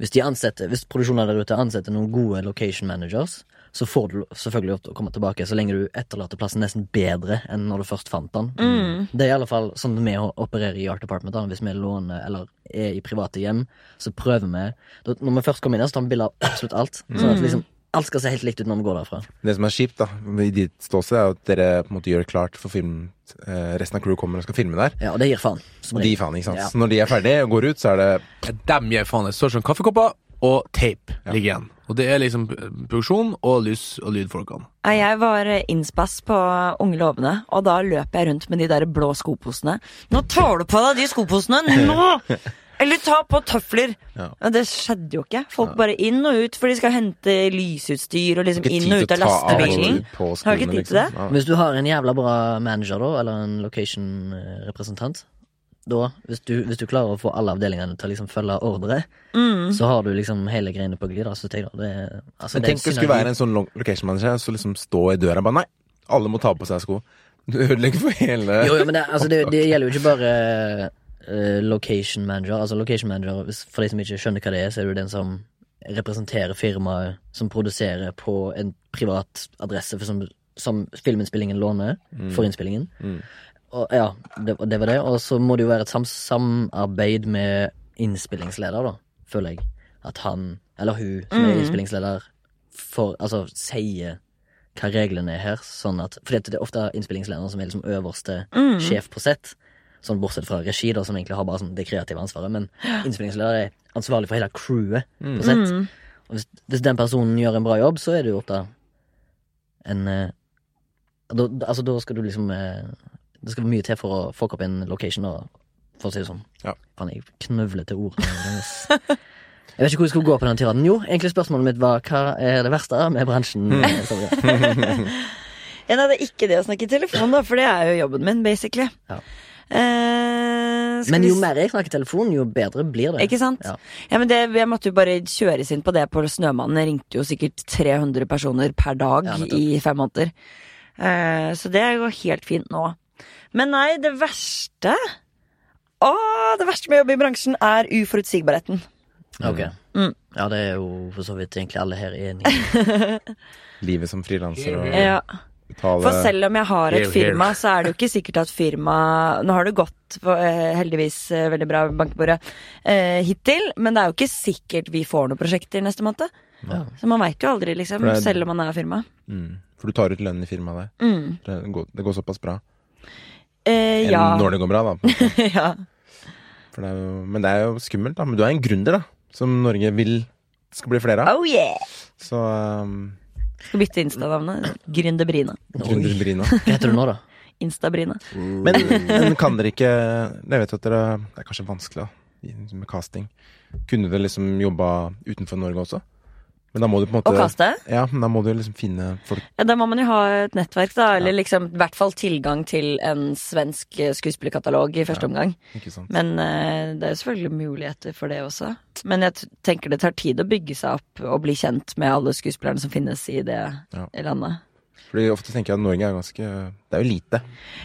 hvis, de ansetter, hvis produksjoner der ute ansetter noen gode location managers, så får du selvfølgelig lov til å komme tilbake så lenge du etterlater plassen nesten bedre enn når du først fant den. Det er i alle fall sånn vi opererer i Art Department. Da. Hvis vi låner eller er i private hjem, så prøver vi da- Når vi først kommer inn, her, så tar vi bilde av absolutt alt. Sånn at liksom alt skal se helt likt ut når vi går derfra. Det som er kjipt, da, i ditt ståsted, er jo at dere på en måte gjør klart for film eh, Resten av crewet kommer og skal filme der. Ja, Og det gir faen. som Og de regel. faen, ikke sant. Ja. Så når de er ferdige og går ut, så er det Dem gir faen. Det står sånn kaffekopper og tape ligger igjen. Og det er liksom produksjon og lys og lydfolkene. Nei, Jeg var eh, innspass på Unge lovende, og da løp jeg rundt med de der blå skoposene. Nå tar du på deg de skoposene! Nå! Eller ta på tøfler! Ja. Men Det skjedde jo ikke. Folk bare inn og ut, for de skal hente lysutstyr og liksom ikke inn og tid ut til av å ta av lastebilen. på skoene. Har ikke tid til det. liksom. Ja. Hvis du har en jævla bra manager, da, eller en location-representant da, hvis du, hvis du klarer å få alle avdelingene til å liksom følge ordre, så har du liksom hele greiene på glid. da, synes jeg, da. Det, er- altså, Men det er en tenk det skulle være synergi. en sånn lo- location manager som liksom stå i døra og bare Nei, alle må ta på seg sko. Du ødelegger for hele Jo, jo, men det, altså, det, det gjelder jo ikke bare eh, location manager. Altså location manager, hvis, For de som ikke skjønner hva det er, så er det jo den som representerer firmaet som produserer på en privat adresse for som, som filminnspillingen låner for innspillingen. Og, ja, det, og det var det. Og så må det jo være et sam samarbeid med innspillingsleder, da, føler jeg. At han, eller hun, som er innspillingsleder, for, altså, sier hva reglene er her. Sånn at, fordi at det er ofte innspillingslederen som er liksom øverste sjef på sett. Sånn Bortsett fra regi, da, som egentlig har bare sånn det kreative ansvaret. Men innspillingsleder er ansvarlig for hele crewet på sett. Og hvis, hvis den personen gjør en bra jobb, så er det jo ofte en eh, da, da- Altså, da skal du liksom eh, Det skal mye til for å fucke opp en location, da, for å si det sånn. Ja. Faen, jeg knøvler til ordene. deres. Jeg vet ikke hvor jeg skulle gå på den tiraden. Jo, egentlig spørsmålet mitt var hva er det verste med bransjen? [laughs] Så, ja. Ja, nei, det er ikke det å snakke i telefon, da, for det er jo jobben min, basically. Ja. Eh, skal Men vi jo s- mer jeg snakker telefon, jo bedre blir det. Ikke sant? Ja. Ja, men det, Jeg måtte jo bare kjøres inn på det på Snømannen. Jeg ringte jo sikkert 300 personer per dag Ja, nettopp. i fem måneder. Eh, så det går helt fint nå. Men nei, det verste Å, det verste med å jobbe i bransjen er uforutsigbarheten. Ok. Mm. Ja, det er jo for så vidt egentlig alle her enige i. livet som frilanser og Ja. betale For selv om jeg har et Here, here. firma, så er det jo ikke sikkert at firma Nå har det gått på, eh, heldigvis eh, veldig bra bankebordet eh, hittil, men det er jo ikke sikkert vi får noen prosjekter neste måned. Ja. Så man veit jo aldri, liksom, For det er- selv om man er firma. mm. For du tar ut lønn i firmaet der. Mm. Det går, det går såpass bra. Eh, Enn ja. når det går bra, da. [laughs] ja. For det er jo, men det er jo skummelt, da. Men du er en gründer, da. Som Norge vil skal bli flere av. Oh yeah! Så um, Skal bytte Insta-navnet. Gründerbrina. gründer Brina. Hva heter du nå, da? Instabrina. Men, [laughs] men kan dere ikke Jeg vet at dere Det er kanskje vanskelig da, i- sånn med casting. Kunne dere liksom jobba utenfor Norge også? Men da må du på en måte Og kaste. Ja, men da må du liksom finne folk Ja, da må man jo ha et nettverk, da. Eller liksom i hvert fall tilgang til en svensk eh, skuespillerkatalog i første omgang. Ikke sant? Men eh, det er jo selvfølgelig muligheter for det også. Men jeg t- tenker det tar tid å bygge seg opp og bli kjent med alle skuespillerne som finnes i det Ja. landet. Fordi ofte tenker jeg at Norge er ganske Det er jo lite.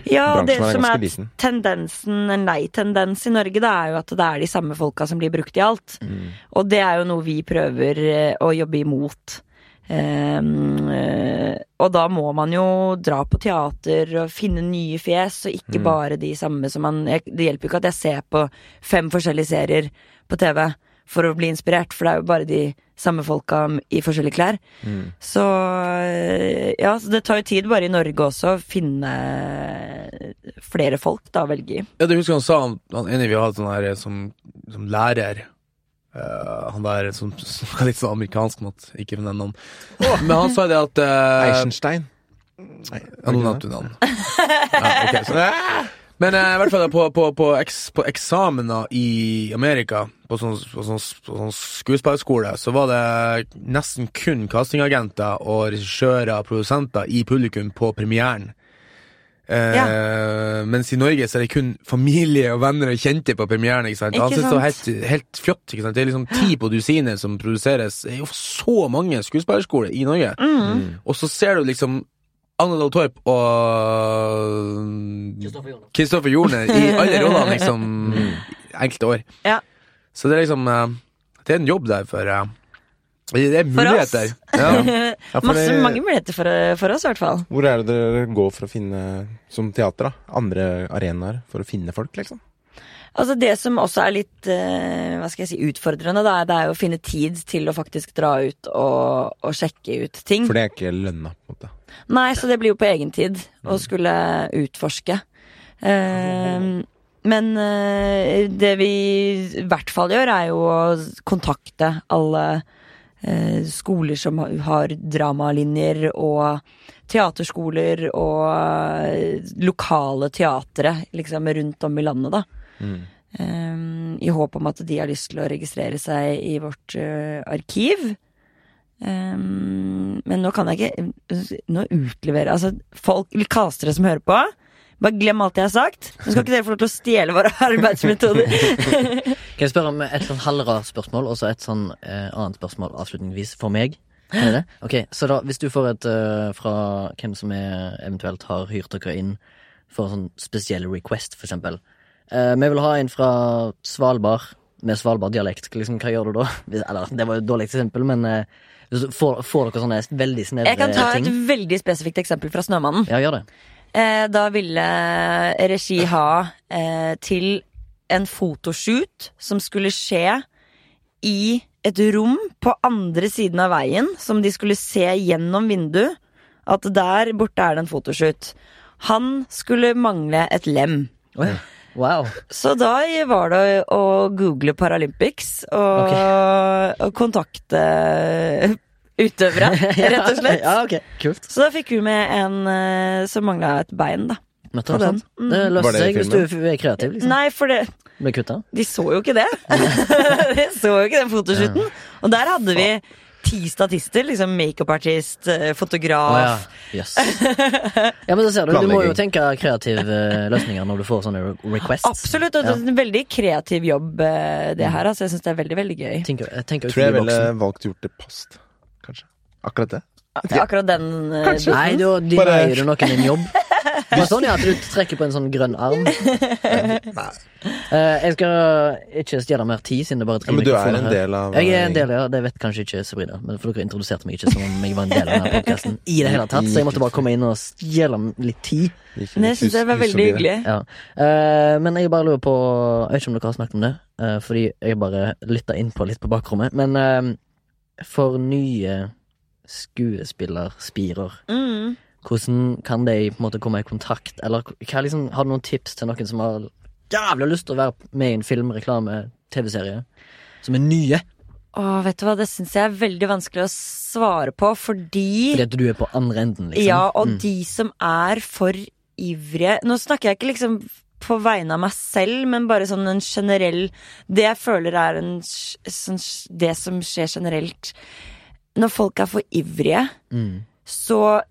Ja, Bransjen det er som ganske er liten. tendensen, en nei-tendens i Norge, det er jo at det er de samme folka som blir brukt i alt. Mm. Og det er jo noe vi prøver eh, å jobbe imot. Ehm, eh, og da må man jo dra på teater og finne nye fjes, og ikke bare de samme som man jeg, Det hjelper jo ikke at jeg ser på fem forskjellige serier på TV. for å bli inspirert, for det er jo bare de samme folka m- i forskjellige klær. Så eh, ja, så det tar jo tid bare i Norge også å finne eh, flere folk da å velge i. Ja, det husker jeg han sa, han, han ene vi hadde sånn her eh, som, som lærer eh, Han der som [laughs] snakka litt sånn amerikansk mot Ikke nevn navn. Men han sa det at eh, Eisenstein. ja, Nå nevnte du navn. Ja, ok, så- Men eh, i hvert fall på, på, på, eks, på eksamener i Amerika, på sånn, på sånn, på sånn skuespillerskole, så var det nesten kun castingagenter og regissører og produsenter i publikum på premieren. Eh, Mens i Norge så er det kun familie og venner og kjente på premieren. Ikke sant? Ikke Han synes det var sant? helt, helt fjott. Ikke sant? Det er liksom ti på dusinet som produseres. Det er jo så mange skuespillerskoler i Norge. Mm. Og så ser du liksom Anne Dahl Torp og Kristoffer Jorne i alle rollene, [laughs] liksom. Enkelte år. Mm. Ja. Så det er liksom eh, Det er en jobb der for eh, Det er oss. muligheter. [laughs] Ja. Ja, for Masse, det- mange muligheter for, eh, for oss, i hvert fall. Hvor er det dere går for å finne, som teater, da? Andre arenaer for å finne folk, liksom? Altså Det som også er litt eh, hva skal jeg si, utfordrende, da, er- det er jo å finne tid til å faktisk dra ut og, og sjekke ut ting. For det er ikke lønna, på en måte. Nei, så det blir jo på egen tid å skulle utforske. Eh, men eh, det vi i hvert fall gjør, er jo å kontakte alle eh, skoler som ha- har dramalinjer, og teaterskoler og eh, lokale teatre liksom, rundt om i landet, da. Eh, I håp om at de har lyst til å registrere seg i vårt eh, arkiv. Um, men nå kan jeg ikke Nå utleverer Altså, folk, castere som hører på, bare glem alt jeg har sagt. Nå skal ikke dere få lov til å stjele våre [laughs] arbeidsmetoder. Kan jeg spørre om et sånn halvrart spørsmål, og så et sånn eh, annet spørsmål avslutningsvis for meg? Kan jeg det? Ok, Så da, hvis du får et eh, fra hvem som er, eventuelt har hyrt dere inn for en sånn spesiell request, for eksempel. Eh, vi vil ha en fra Svalbard med Svalbard-dialekt. Liksom, hva gjør du da? [laughs] Hvis, eller, det var jo et dårlig eksempel, men eh, hvis du får, får dere sånne veldig snevre Jeg kan ta et ting? veldig spesifikt eksempel fra Snømannen. Ja, gjør det. Eh, da ville regi ha eh, til en fotoshoot som skulle skje i et rom på andre siden av veien, som de skulle se gjennom vinduet. At der borte er det en fotoshoot. Han skulle mangle et lem. Oi. [laughs] Wow. Så da var det å google Paralympics og, [laughs] og kontakte utøvere, rett og [laughs] slett. ja, ok, kult Så da fikk vi med en eh, som mangla et bein, da. Møtte På han den. sånn. Det Var løser det i seg hvis du er kreativ, liksom. Nei, for det, Ble kutta. de så jo [laughs] ikke det. de så jo ikke den fotoshooten. Og der hadde vi ti statister. Liksom Makeupartist, eh, Å ja. fotograf. Jøss. [laughs] Ja, men da ser du, du må jo Planlegging. tenke kreative eh, løsninger når du får sånne re- requests. Absolutt. Og det er en veldig kreativ jobb, eh, det her. Altså, jeg syns det er veldig, veldig gøy. Tenk, tenk Tror jeg utenfor ville boksen. valgt gjort det post, kanskje. Akkurat det. Akkurat den eh, Nei, biten. da de Bare- gir du noen en [laughs] jobb. Det er sånn ja, at du trekker på en sånn grønn arm. Eh, jeg skal ikke stjele mer tid, siden det er bare tre Ja, men du er mikrofoner en her. del av eh, Jeg er en del, ja. Det vet kanskje ikke Sabrina. Men for dere introduserte meg ikke som om jeg var en del av denne podcasten i det hele tatt. Så jeg måtte bare komme inn og stjele litt tid. Gikk Men litt jeg syns det hus- var hus veldig forbi det. hyggelig. Ja. Eh, men jeg bare lurer på Jeg vet ikke om dere har snakket om det, eh, fordi jeg bare lytta innpå litt på bakrommet. Men eh, for nye skuespillerspirer, Mm. hvordan kan de på en måte komme i kontakt? Eller hva, liksom, har du noen tips til noen som har jævla lyst til å være med i en film, reklame, TV-serie? Som er nye, Åh, vet du hva, det syns jeg er veldig vanskelig å svare på, fordi fordi at du er på andre enden, liksom. Ja, og Mm. de som er for ivrige Nå snakker jeg ikke liksom på vegne av meg selv, men bare sånn en generell Det jeg føler er en sj- sånn, sj- Det som skjer generelt når folk er for ivrige, Mm. så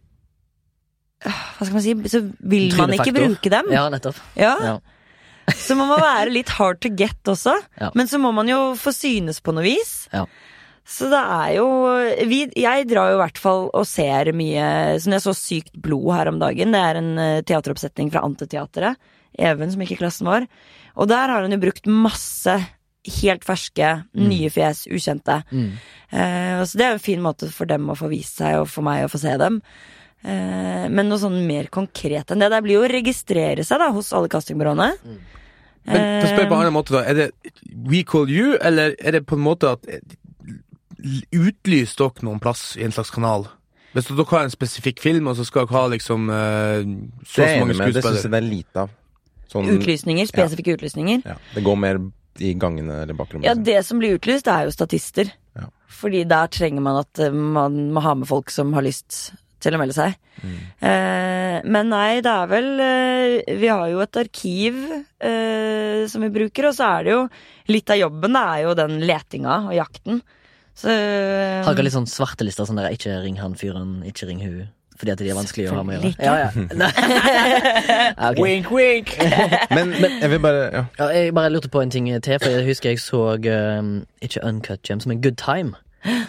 øh, Hva skal man si? Så vil man ikke Trynefaktor. bruke dem. Ja, nettopp. Ja. Ja. så man må være litt hard to get også. Ja. Men så må man jo få synes på noe vis. Ja. Så det er jo vi, Jeg drar jo i hvert fall og ser mye Som jeg så Sykt blod her om dagen. Det er en eh, teateroppsetning fra Antiteatret. Even, som gikk i klassen vår. Og der har hun jo brukt masse helt ferske, nye fjes, ukjente. Mm. Eh, og så det er jo en fin måte for dem å få vist seg, og for meg å få se dem. Eh, men noe sånn mer konkret enn det. Det blir jo å registrere seg da hos alle castingbyråene. Men for å spørre på en annen måte da, Er det We Call You, eller er det på en måte at Utlyser dere noen plass i en slags kanal? Hvis dere har en spesifikk film, og så skal dere ha liksom eh, så og så Det er jeg mange enig med. Det syns skuespillere jeg det er lite av. Sånn, Utlysninger, spesifikke utlysninger. ja, det går mer i gangene eller bakrommet. Ja, liksom. det som blir utlyst, det er jo statister. Ja. Fordi der trenger man at eh, man må ha med folk som har lyst til å melde seg. Eh, men nei, det er vel eh, Vi har jo et arkiv eh, som vi bruker, og så er det jo Litt av jobben det er jo den letinga og jakten. Så eh, Har dere litt sånn svartelister? Sånn der, ikke ring han fyren, ikke ring hun. Fordi at de er vanskelig å ha med å Selvfølgelig gjøre. Ja, ja. [laughs] Nei. Ja, [laughs] ok. Wink, wink. Men, men jeg vil bare ja. Ja, jeg bare lurte på en ting til, for jeg husker jeg så um, ikke Uncut Gems, men Good Time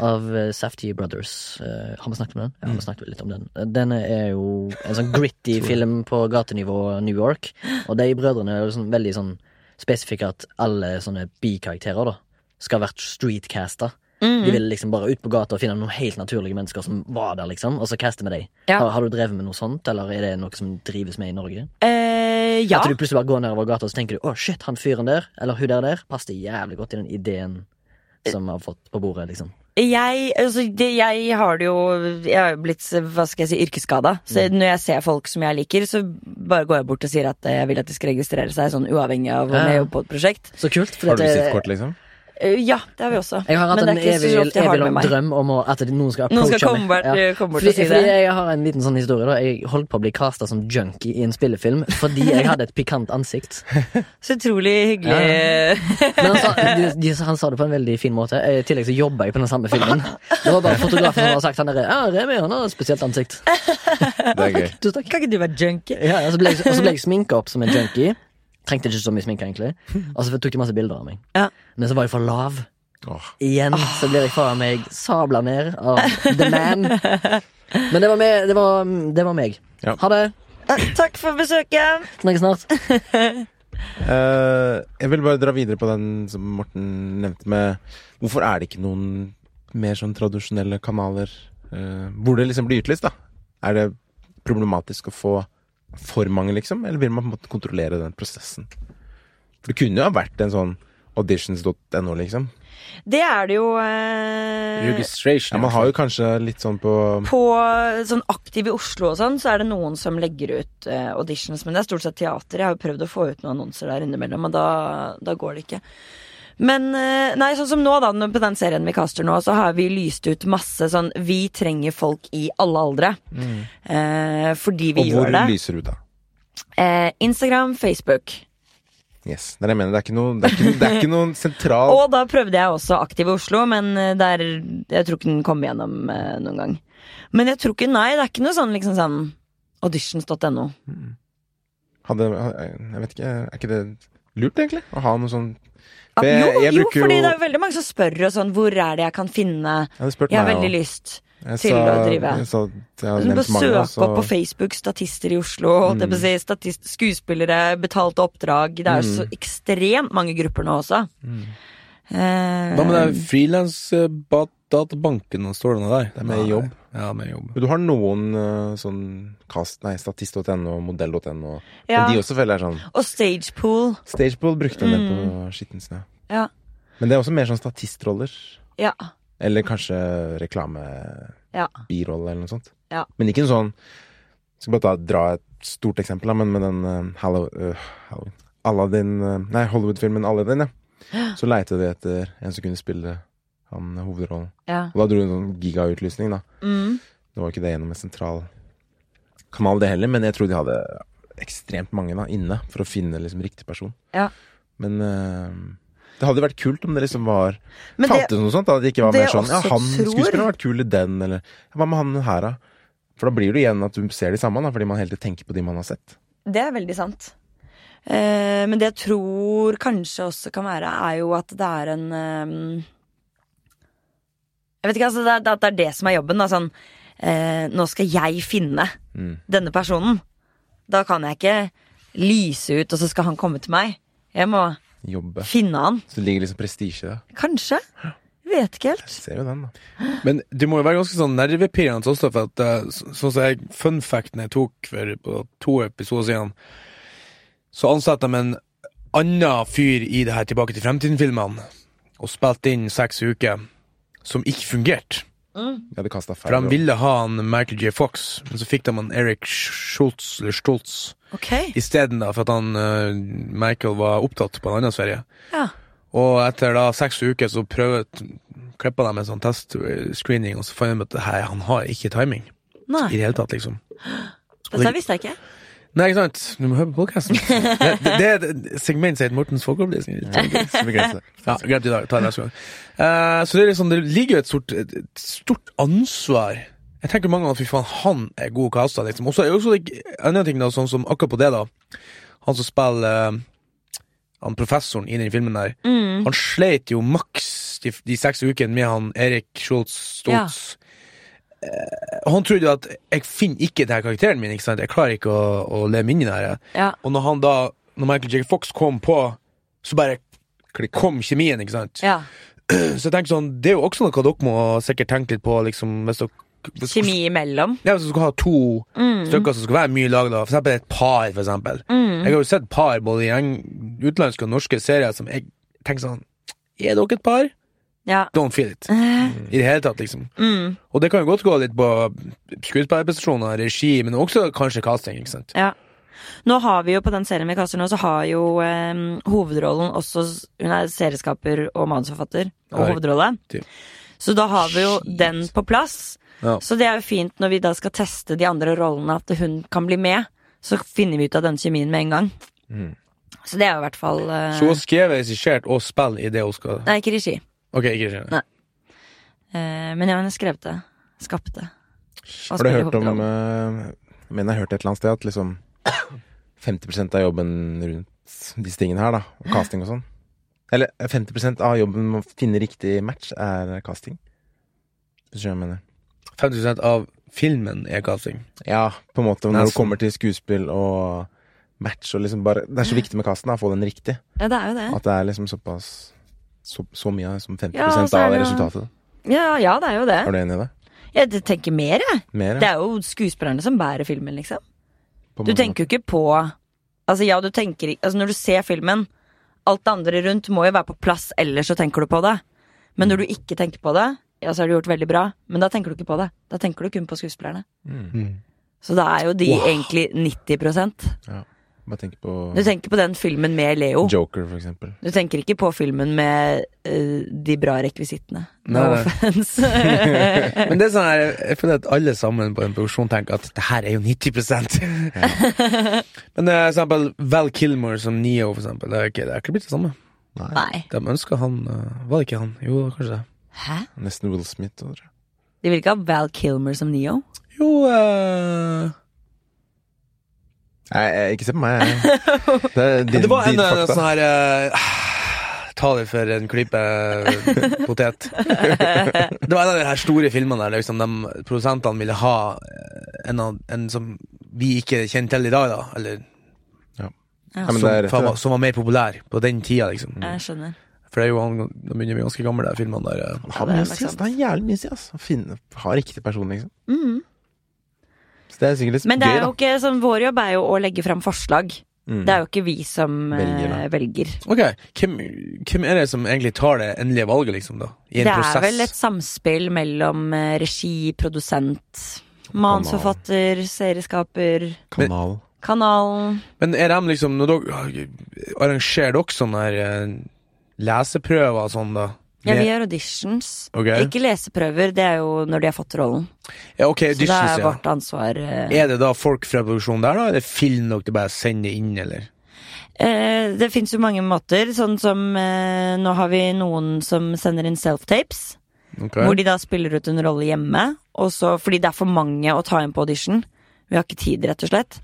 av uh, Safety Brothers. Uh, har vi snakket om den? Ja, vi snakket vel litt om den. Uh, Den er jo en sånn gritty film på gatenivå New York, og de brødrene er jo sånn, veldig sånn spesifikke at alle sånne bikarakterer da, skal ha vært streetcasta. De ville liksom bare ut på gata og finne noen helt naturlige mennesker som var der, liksom, og så caste med dem. Ja. Har, har du drevet med noe sånt, eller er det noe som drives med i Norge? eh, ja. Ah? At du plutselig bare går nedover gata og så tenker du, å shit, han fyren der, eller hun der der, passer jævlig godt i den ideen som vi har fått på bordet, liksom. Jeg, altså, det, jeg har det jo Jeg har jo blitt hva skal jeg si, yrkesskada. Så Mm. når jeg ser folk som jeg liker, så bare går jeg bort og sier at eh, jeg vil at de skal registrere seg, sånn uavhengig av om Ja. jeg jobber på et prosjekt. Så kult. fordi Har du at jeg- visittkort, liksom? Eh, Ja, det har vi også. Jeg har hatt Men en det er ikke evig, så ofte jeg har evig det med lang meg. drøm om å, at noen skal Noen skal approache komme bort- komme bort og fordi, si det. fordi jeg har en liten sånn historie. da Jeg holdt på å bli casta som junkie i en spillefilm fordi jeg hadde et pikant ansikt. Så utrolig hyggelig. [laughs] Men han sa, de, de, han sa det på en veldig fin måte. Eh, I tillegg så jobba jeg på den samme filmen. Det var bare fotografen som hadde sagt han derre Ja, Remi, han har et spesielt ansikt. Det er gøy. Tusen takk. Kan ikke du være junkie? Ja, og så ble jeg, og så [laughs] ble jeg sminka opp som en junkie. Trengte ikke så mye sminke, [laughs] egentlig. Og så tok de masse bilder av meg. Ja. Men så var jeg for lav. Åh. Igjen så blir jeg faen meg sabla ned av the [laughs] man. Men det var, meg, det var, det var meg. Ja. Ha det. Eh, Takk for besøket. Snakkes snart. Eh, jeg vil bare dra videre på den som Morten nevnte med Hvorfor er det ikke noen mer sånn tradisjonelle kanaler eh, hvor det liksom blir utlyst, da? Er det problematisk å få for mange, liksom? Eller vil man på en måte kontrollere den prosessen? For det kunne jo ha vært en sånn auditions.no, liksom. Det er det jo eh, Ja, Registration. man har jo kanskje litt sånn på På sånn aktiv i Oslo og sånn, så er det noen som legger ut eh, auditions, men det er stort sett teater. Jeg har jo prøvd å få ut noen annonser der innimellom, og da, da går det ikke. Men eh, nei, sånn som nå, da, nå på den serien vi kaster nå, så har vi lyst ut masse sånn Vi trenger folk i alle aldre. Eh, fordi vi Og hvor gjør det. lyser du da? Eh, Instagram, Facebook. Yes. Det er det jeg mener. Det er ikke noe, det er ikke, det er ikke noen sentral Og da prøvde jeg også Aktiv i Oslo, men eh, der, jeg tror ikke den kom gjennom eh, noen gang. Men jeg tror ikke, nei, det er ikke noe sånn liksom sånn auditions.no. hadde, Jeg vet ikke, er ikke det lurt, egentlig? Å ha noe sånn At, For jeg- jo, jeg jo, bruker fordi jo- det er jo veldig mange som spør og sånn, hvor er det jeg kan finne Jeg hadde spurt Jeg har meg veldig også. lyst. Jeg til sa- å drive. Jeg sa, at jeg har Du må nevnt mange, søke da, så Mm. opp på Facebook statister i Oslo, holdt jeg på å si, statist, skuespillere, betalte oppdrag. Det er jo så Mm. ekstremt mange grupper nå også. Eh, Hva med den eh, frilansdatabanken? Står det noe der? Det er med jobb. Ja, med jobb. Men du har noen eh, sånn cast, nei, statist.no, modell.no. Ja. Men de også føler jeg er sånn Og stagepool. Stagepool brukte en del på skitten snø. Mm. Ja. Men det er også mer sånn statistroller. ja. Eller kanskje reklame-birolle Ja. eller noe sånt. Ja. Men ikke en sånn Skal bare ta, dra et stort eksempel, da, men med den eh, Hallow, øh, Halloween Aladdin eh, Nei, Hollywood-filmen Aladdin, ja. Så leita de etter en som kunne spille han hovedrollen. ja. Og da dro hun sånn gigautlysning, da. Mm. Det var ikke det gjennom en sentral kanal, det heller, men jeg tror de hadde ekstremt mange da, inne for å finne liksom riktig person. Ja. Men eh, det hadde vært kult om det liksom var Men det, Fantes noe sånt? da, At det ikke var det mer sånn jeg Ja, også han tror- skuespilleren har vært kul i den, eller ja, Hva med han her, da? For da blir det igjen at du ser de samme, da, fordi man hele tiden tenker på de man har sett. Det er veldig sant. Eh, men det jeg tror kanskje også kan være, er jo at det er en eh, Jeg vet ikke, altså det er, det er- det er det som er jobben. Da, sånn, eh, nå skal jeg finne Mm. denne personen. Da kan jeg ikke lyse ut, og så skal han komme til meg. Jeg må Jobbe. finne han. Så det ligger liksom prestisje i det. Kanskje. Jeg Vet ikke helt. Ser jo den, da. Men du må jo være ganske sånn nervepirrende også, for at eh, så- sånn som jeg fun facten jeg tok for på to episoder siden, så ansatte de en annen fyr i det her Tilbake til fremtiden-filmene og spilte inn seks uker, som ikke fungerte. Jeg hadde kastet feil. For de og- ville ha han Michael J. Fox, men så fikk de han Eric Schultz, eller Stoltz Ok. isteden, da, for at han eh, Michael var opptatt på en annen ferie. Ja. Og etter da seks uker så prøvet klippa de en sånn testscreening, og så fant de ut at hei, han har ikke timing i Nei, det hele tatt, liksom. dette visste jeg ikke. Nei, ikke sant? Du må høre på podkasten. Det, det, det er et segment som heter Mortens folkeopplysning. Så vi glemte det. Ja, greit i dag. Ta det neste gang. Eh, så det, er liksom, det ligger jo et stort, et stort ansvar Jeg tenker mange ganger fy faen, han er god kasta, liksom. Og så er jo også det- en annen ting, da, sånn som akkurat på det, da. Han som spiller eh, han professoren i den filmen der, han sleit jo maks de, de seks ukene med han Erik Schultz Stoltz. Eh, han trodde jo at 'jeg finner ikke denne karakteren min', ikke sant? jeg klarer ikke å, å leve meg inn i det her. Ja. Og når han da, når Michael J. Fox kom på, så bare kom kjemien, ikke sant? Ja. Så jeg tenker sånn, det er jo også noe dere må sikkert tenke litt på, liksom, hvis dere... Hvis, Kjemi Mm. imellom. Ja, hvis dere skal ha to stykker som skal være mye lag, da. For eksempel et par, for eksempel. Mm. Jeg har jo sett par, både i eng- utenlandske og norske serier, som jeg tenker sånn, er dere et par? Ja. Don't feel Eh. it. I det hele tatt, liksom. Mm. Og det kan jo godt gå litt på skuespillerprestasjoner, regi, men også kanskje casting, ikke sant? Ja. Nå har vi jo på den serien vi kaster nå, så har jo em, hovedrollen også Hun er serieskaper og manusforfatter og Nei. hovedrolle. Typ. Så da har vi jo den på plass. Ja. Så det er jo fint når vi da skal teste de andre rollene, at hun kan bli med. Så finner vi ut av den kjemien med en gang. Mm. Så det er jo i hvert fall eh, Så hun skrev, regissert og spill i det hun skal... Nei, ikke regi. Ok, ikke skjønner. Eh, men ja, hun skrev det. Skapte. Og Har du spiller hørt om hovedrollen. eh, Jeg mener, jeg har hørt et eller annet sted at liksom 50 av jobben rundt disse tingene her, da, og casting og sånn Eller 50 av jobben med å finne riktig match er casting. Hvis du skjønner hva jeg mener. 50% av filmen er casting. Ja, på en måte når Nesten. det kommer til skuespill og match og liksom bare Det er så viktig med casten, da, å få den riktig. Ja, det er jo det. At det er liksom såpass Så, så mye som 50 Ja, og så er av det- resultatet. Ja, ja, det er jo det. Er du enig i det? Jeg tenker mer, jeg. Mer? Det ja, er jo skuespillerne som bærer filmen, liksom. på Du mange tenker jo ikke på Altså, ja, du tenker ikke Altså, når du ser filmen, alt det andre rundt må jo være på plass, ellers så tenker du på det. Men Mm. når du ikke tenker på det, ja, så har du gjort veldig bra, men da tenker du ikke på det. Da tenker du kun på skuespillerne. Mm. Så da er jo de egentlig 90 måter. Bare tenk på Du tenker på den filmen med Leo. Joker, for eksempel. Du tenker ikke på filmen med eh, de bra rekvisittene. No Nei, nei. [laughs] offense. Men det er sånn her, jeg føler at alle sammen på en produksjon tenker at det her er jo 90 Men eh, for eksempel Val Kilmer som Neo, for eksempel. Det er ikke, det er ikke blitt det samme. Nei. De ønsker han eh, Var det ikke han? Jo, kanskje det. Hæ? Nesten Will Smith. tror jeg. De vil ikke ha Val Kilmer som Neo? Jo eh, Nei, eh, ikke se på [laughs] meg. jeg. Det er din, Det var en din eh, fakta. sånn her eh, [sighs] Ta det for en klype eh, potet. Det var en av de her store filmene der liksom, de produsentene ville ha eh, en, av, en som vi ikke kjenner til i dag, da. Eller Ja, men det er som, rett, faen var- det. som var mer populær på den tida, liksom. Mm. Jeg skjønner. For det er jo han, da begynner vi ganske gamle, de filmene der. eh. Han har Ja, det er mye nok sist. sant. Mm. Han har jævlig mye sist. Han finner, har riktig person, liksom. Så det er sikkert litt Men det gøy, er jo da. ikke sånn, vår jobb er jo å legge fram forslag. Mm. Det er jo ikke vi som Velger, velger. da. velger. Ok, hvem, hvem er det som egentlig tar det endelige valget, liksom, da? I en Det er prosess? vel et samspill mellom eh, regi, produsent, manusforfatter, serieskaper, Kanal. kanalen. Men er de liksom når dere, Arrangerer dere sånne her eh, leseprøver og sånn, da? Ja, vi Med- gjør auditions. Ok. Ikke leseprøver, det er jo når de har fått rollen. ja, ok, Så det auditions, er ja. vårt ansvar. eh. Er det da folk fra produksjonen der, da? Eller film dere bare sender inn, eller? Eh, Det fins jo mange måter, sånn som eh, nå har vi noen som sender inn self-tapes. Ok. Hvor de da spiller ut en rolle hjemme. Og så, fordi det er for mange å ta inn på audition. Vi har ikke tid, rett og slett.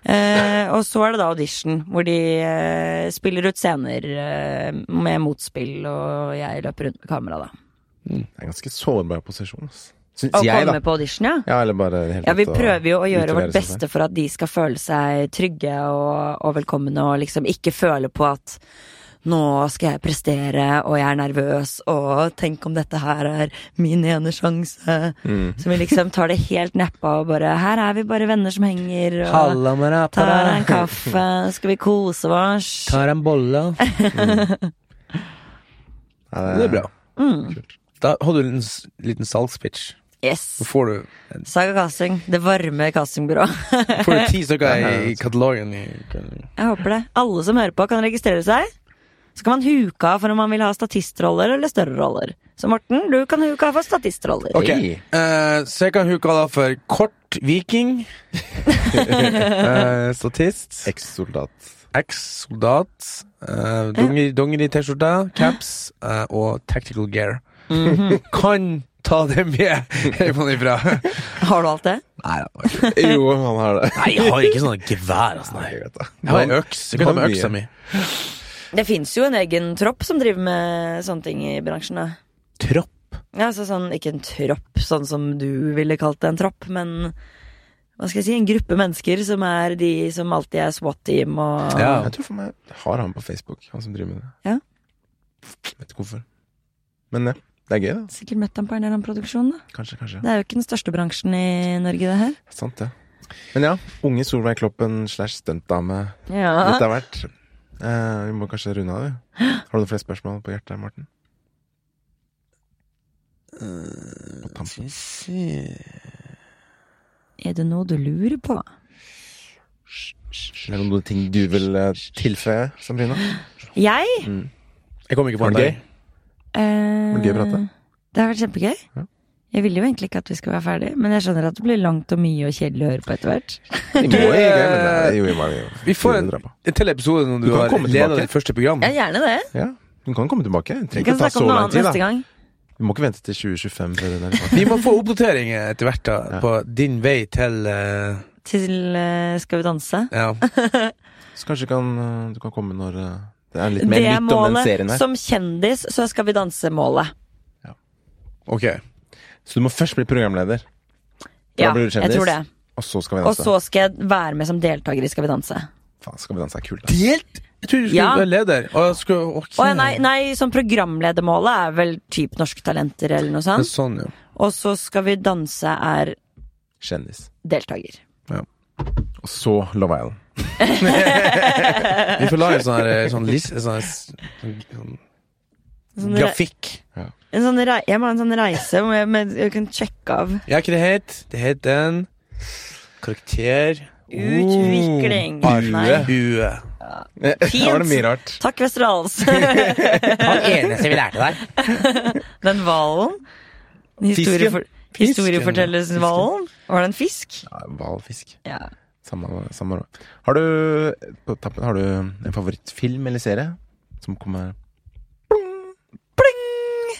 Eh, og så er det da audition, hvor de eh, spiller ut scener eh, med motspill, og jeg løper rundt med kamera, da. Det er en ganske sårbar posisjon, ass. Syns Og jeg, kommer da. på audition, ja. Ja, eller bare i det hele Ja, vi tatt å prøver jo å gjøre utlevere vårt uh, seg selv. beste for at de skal føle seg trygge og, og velkomne, og liksom ikke føle på at nå skal jeg prestere, og jeg er nervøs, og tenk om dette her er min ene sjanse. Mm. Så vi liksom tar det helt neppa og bare Her er vi bare venner som henger, og Halla med deg, tar en kaffe, skal vi kose oss. Tar en bolle. Det er bra. Mm. Kult. Da har du en s- liten salgspitch. Yes. Så får du, Saga Casting, det varme castingbyrået. får du ti [laughs] stykker i katalogen. I, Jeg håper det. Alle som hører på, kan registrere seg. Så kan man huke av for om man vil ha statistroller eller større roller. Så Morten, du kan huke av for statistroller. Ok, eh, Så jeg kan huke av da for kort [laughs] viking. eh, statist. [laughs] Eks-soldat. Eks-soldat. eh, dongeri- Dongeri-T-skjorte, caps eh, og tactical gear. Mhm. [laughs] Kan ta det med hjemmefra. ifra Har du alt det? Nei, Jo, han har det. jeg har ikke sånne gevær. Altså, nei. Jeg vet [laughs] det. Jeg har en øks. Jeg kan ta med Mye. øksa mi. Det fins jo en egen tropp som driver med sånne ting i bransjen. da. Tropp. Ja, så sånn, Ikke en tropp, sånn som du ville kalt det en tropp, men hva skal jeg si, en gruppe mennesker som er de som alltid er SWAT-team og Ja. Jeg tror for meg har han på Facebook, han som driver med det. Ja. Vet ikke hvorfor. Men ja, det er gøy, da. Sikkert møtt ham på en eller annen produksjon. da. Kanskje, kanskje. Det er jo ikke den største bransjen i Norge, det her. Sant, det. Men ja, unge Solveig Kloppen slash stuntdame. Ja. Dette har vært Eh, Vi må kanskje runde av, vi. Har du noen flere spørsmål på hjertet, Morten? Eh, På tampen. Er det noe du lurer på? Er det noen ting du vil eh, tilføye, [laughs] Sabrina? Jeg? Jeg kom ikke på Var en det dag. gøy? Eh, Det blir gøy å prate. Det har vært kjempegøy. Ja. Jeg ville jo egentlig ikke at vi skulle være ferdig, men jeg skjønner at det blir langt og mye og kjedelig å høre på etter hvert. Vi må jo ikke, men det er jo vi må jo Vi får en, dra på. en til episode når du, Du kan har komme ledet tilbake. ditt første program. Ja, gjerne det. Ja, Hun kan komme tilbake. Det Vi trenger ikke kan å ta snakke så om noe lang annet tid. neste da gang. Vi må ikke vente til 2025 før den er tilbake. Vi må få oppdateringer etter hvert da, Ja. på din vei til eh, Til eh, Skal vi danse. [laughs] ja. Så kanskje kan, eh, du kan komme når eh, det er litt mer Det er nytt om den serien målet. her. Som kjendis så skal vi danse-målet. Ok. Så du må først bli programleder, Da Ja, blir du jeg kjendis. Altså. tror det. og så skal vi Og danse. så skal jeg være med som deltaker i Skal vi danse. Faen, skal vi danse er kult, da. Delt? Jeg trodde du skulle Ja. være leder. Og jeg skulle, ok. Å ja, nei, nei, som programledermålet er vel typ Norske Talenter eller noe Men sånt. Sånn, ja. Og så Skal vi danse er Kjendis. deltaker. Og så Love Island. Vi får lage en sånn, her, eh, sånn, lis- sånn, her s- sånn, sånn Sånn re- grafikk. En sånn rei jeg må ha en sånn reise hvor jeg, med, jeg kan sjekke av Ja, hva det het? Det het en karakter Oh, utvikling. Nei. Hue. Fint. var [laughs] det mye rart. Takk, Westerdals. Han eneste vi lærte der. [laughs] Den hvalen. Historiefor Historiefortellerhvalen. Var det en fisk? Ja, Hvalfisk. Ja. Samme, samme år. Har du på tappen, har du en favorittfilm eller serie som kommer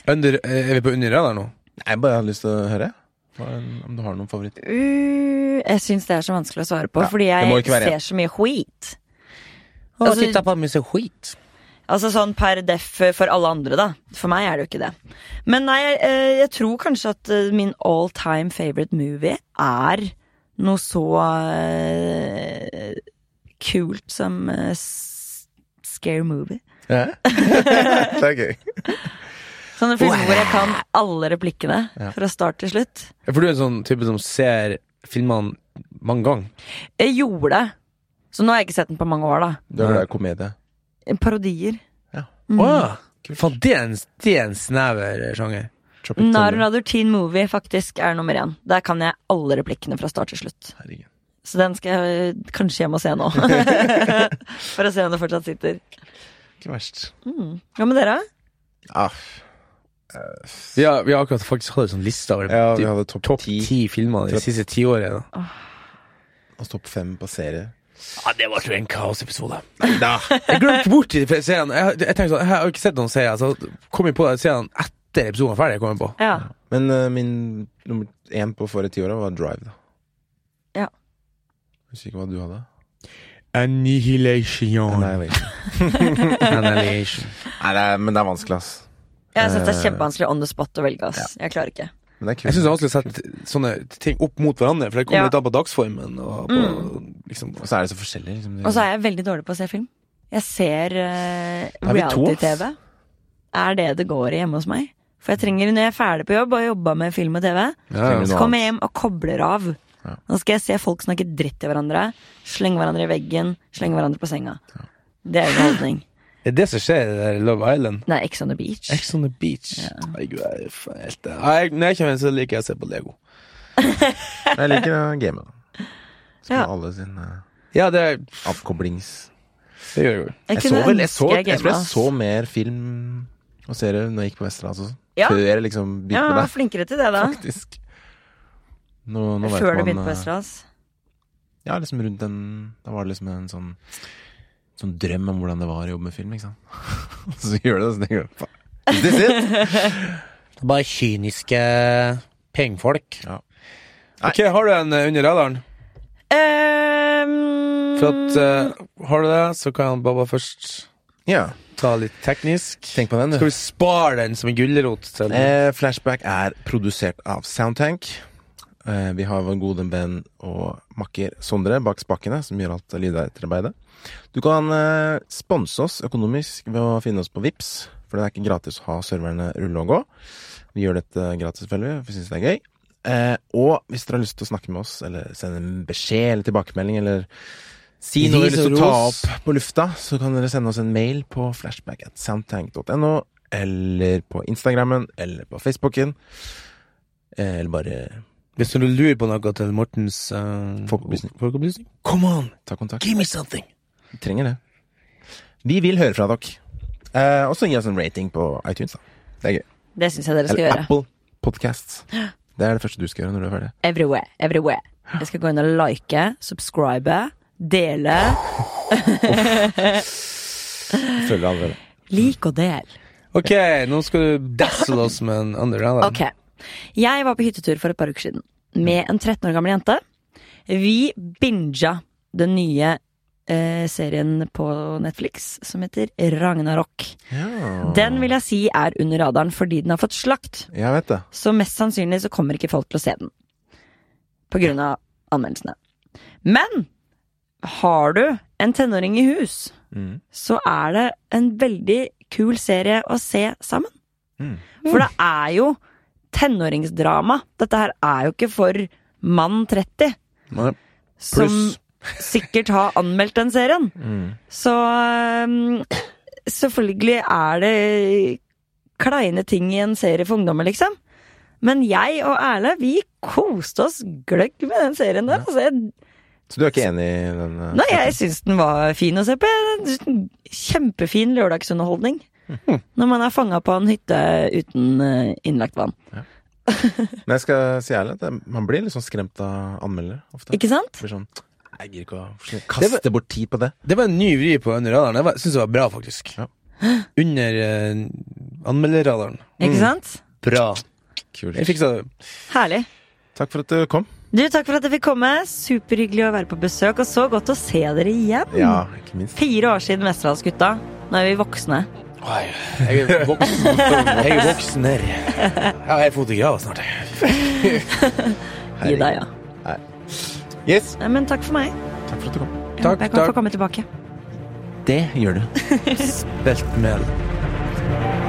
Under, eh, er vi på under radar nå? Nei, jeg bare har lyst til å høre. Hva er en- Om du har noen [laughs] favoritt Uh, jeg syns det er så vanskelig å svare på, fordi det må jeg ikke være en. ser så mye skit. [laughs] Og Altså- titta på meg så skit. Altså sånn per def for alle andre, da. For meg er det jo ikke det. Men nei, jeg, eh, jeg tror kanskje at eh, min all time favorite movie er noe så eh, kult som eh, s- Scary Movie. Ja. det er gøy. Sånne filmer hvor jeg kan alle replikkene Ja. fra start til slutt. Ja, For du er en sånn type som ser filmene mange ganger. Jeg gjorde det. Så nå har jeg ikke sett den på mange år, da. Du er glad i komedie. Parodier. Å Mm. ja. Faen, det er en, det er en snever eh, sjanger. Tropic Nar Thunder. Another Teen Movie faktisk er nummer én. Der kan jeg alle replikkene fra start til slutt. Herregud. Så den skal jeg øh, kanskje hjem og se nå. [laughs] For å se om det fortsatt sitter. Ikke verst. Hva med dere? Ah, Vi har, vi har akkurat faktisk hatt en sånn liste over ja, vi de hadde topp topp ti ti filmer de siste ti årene. da. og topp fem på serier. Ja, det var tror jeg en kaosepisode. Jeg glemte bort de seriene. Jeg, jeg tenkte sånn, jeg har jo ikke sett noen serier, så kom jeg på seriene etter episoden var ferdig. kom jeg på. Ja. [laughs] Men eh, min nummer én på forrige tiåra var Drive, da. Ja. Husker ikke hva du hadde. Annihilation. Nei, jeg vet ikke. Annihilation. Nei, det er, men det er vanskelig, ass. Jeg syns det Eh. er kjempevanskelig on the spot å velge, ass. Jeg klarer ikke. Men det er Jeg kult. syns det er vanskelig å sette sånne ting opp mot hverandre, for det kommer Ja. litt an på dagsformen. Og på, liksom, Og så er det så forskjellig. Liksom. Og så er jeg veldig dårlig på å se film. Jeg ser eh, Er vi to, ass? reality-TV. Er det det går i hjemme hos meg? For jeg trenger, når jeg er ferdig på jobb og har jobba med film og TV, Ja, ja. Trenger du så noe kommer annet? jeg hjem og kobler av. Ja. Nå skal jeg se folk snakke dritt til hverandre, slenge hverandre i veggen, slenge hverandre på senga. Det er underholdning. Det er det som skjer i det der Love Island. Nei, Ex on the Beach. Ex on the beach. Herregud, jeg er faen helt eh, Nei, jeg- Når jeg kommer hjem, så liker jeg å se på Lego. Jeg liker uh, gamet. Som Ja. alle sine eh, Ja, det, er- avkoblings... det gjør jeg jo. Jeg Jeg så kunne vel, jeg, ønske så, jeg, gamet, tror jeg ass. så mer film og serier når jeg gikk på Vesterålen. Altså, Ja. Før jeg liksom Ja, begynte jeg med var det, flinkere til det da. faktisk. Nå, nå vet Før du man, begynte på eh, Østerdals. Ja, liksom rundt den Da var det liksom en sånn Sånn drøm om hvordan det var å jobbe med film, ikke sant. [laughs] Og så gjør du det, så tenker du faen. Is this it? [laughs] Det er bare kyniske pengefolk. Ok, har du en eh, under radaren? Ehm, For Mm. at eh, har du det, så kan Baba først Ja. ta litt teknisk. Tenk på den, Skal du. vi spare den som en gulrot til Eh, Flashback er produsert av Soundtank. Eh, vi har vår gode venn og makker Sondre bak spakene, som gjør alt lydarbeidet. Du kan eh, sponse oss økonomisk ved å finne oss på Vips for det er ikke gratis å ha serverne rulle og gå. Vi gjør dette gratis, selvfølgelig, for vi syns det er gøy. Eh, og hvis dere har lyst til å snakke med oss, eller sende en beskjed eller tilbakemelding, eller si noe dere har lyst til å ta Ris og opp på lufta, så kan dere sende oss en mail på flashback at soundtank.no, eller på Instagrammen, eller på Facebooken. eh, Eller bare Hvis du lurer på noe til Mortens eh, Folkeopplysning. folkeopplysning, come on, ta kontakt. give me something! Vi trenger det. Vi vil høre fra dere. Eh, og så gi oss en rating på iTunes, da. Det er gøy. det syns jeg dere skal Eller gjøre. Apple [gasps] Podcasts. Det er det første du skal gjøre når du er ferdig. Everywhere. Everywhere. Jeg skal gå inn og like, subscribe, dele. Følger allerede. Lik og del. Ok, nå skal du dazzle oss med en under radaren. Ok. Jeg var på hyttetur for et par uker siden med en 13 år gammel jente. Vi binga den nye eh, serien på Netflix som heter Ragnarok. Ja. Den vil jeg si er under radaren fordi den har fått slakt. Jeg vet det. Så mest sannsynlig så kommer ikke folk til å se den. På grunn av anmeldelsene. Men har du en tenåring i hus, Mm. så er det en veldig kul serie å se sammen. Mm. For det er jo tenåringsdrama. Dette her er jo ikke for mann 30, Nei. som Pluss. [laughs] sikkert har anmeldt den serien. Mm. Så um, selvfølgelig er det kleine ting i en serie for ungdommer, liksom. Men jeg og Erle, vi koste oss gløgg med den serien der. Altså, jeg, Så du er ikke enig i den? eh, nei, jeg syns den var fin å se på. Kjempefin lørdagsunderholdning. Hm. Når man er fanga på en hytte uten eh, innlagt vann. Nei, jeg skal si ærlig at jeg- man blir litt sånn skremt av anmeldere ofte. Ikke sant? Blir sånn, jeg gir ikke å kaste bort tid på det. Det var en ny vri på under radaren. Jeg var- syns det var bra, faktisk. Ja. Under eh, anmelderradaren. Ikke sant? Bra. Jeg Kult. fiksa det. Herlig. Takk for at du kom. Du, takk for at jeg fikk komme. Superhyggelig å være på besøk, og så godt å se dere igjen. Ja, ikke minst. Fire år siden Vesterålsgutta. Nå er vi voksne. Jeg er voksen. Jeg er voksen her. Ja, jeg er fotograf snart. jeg. Gi deg, ja. Yes. Nei, men takk for meg. Takk for at du kom. Jeg Takk, håper jeg kan takk. få komme tilbake. Det gjør du. Spilt med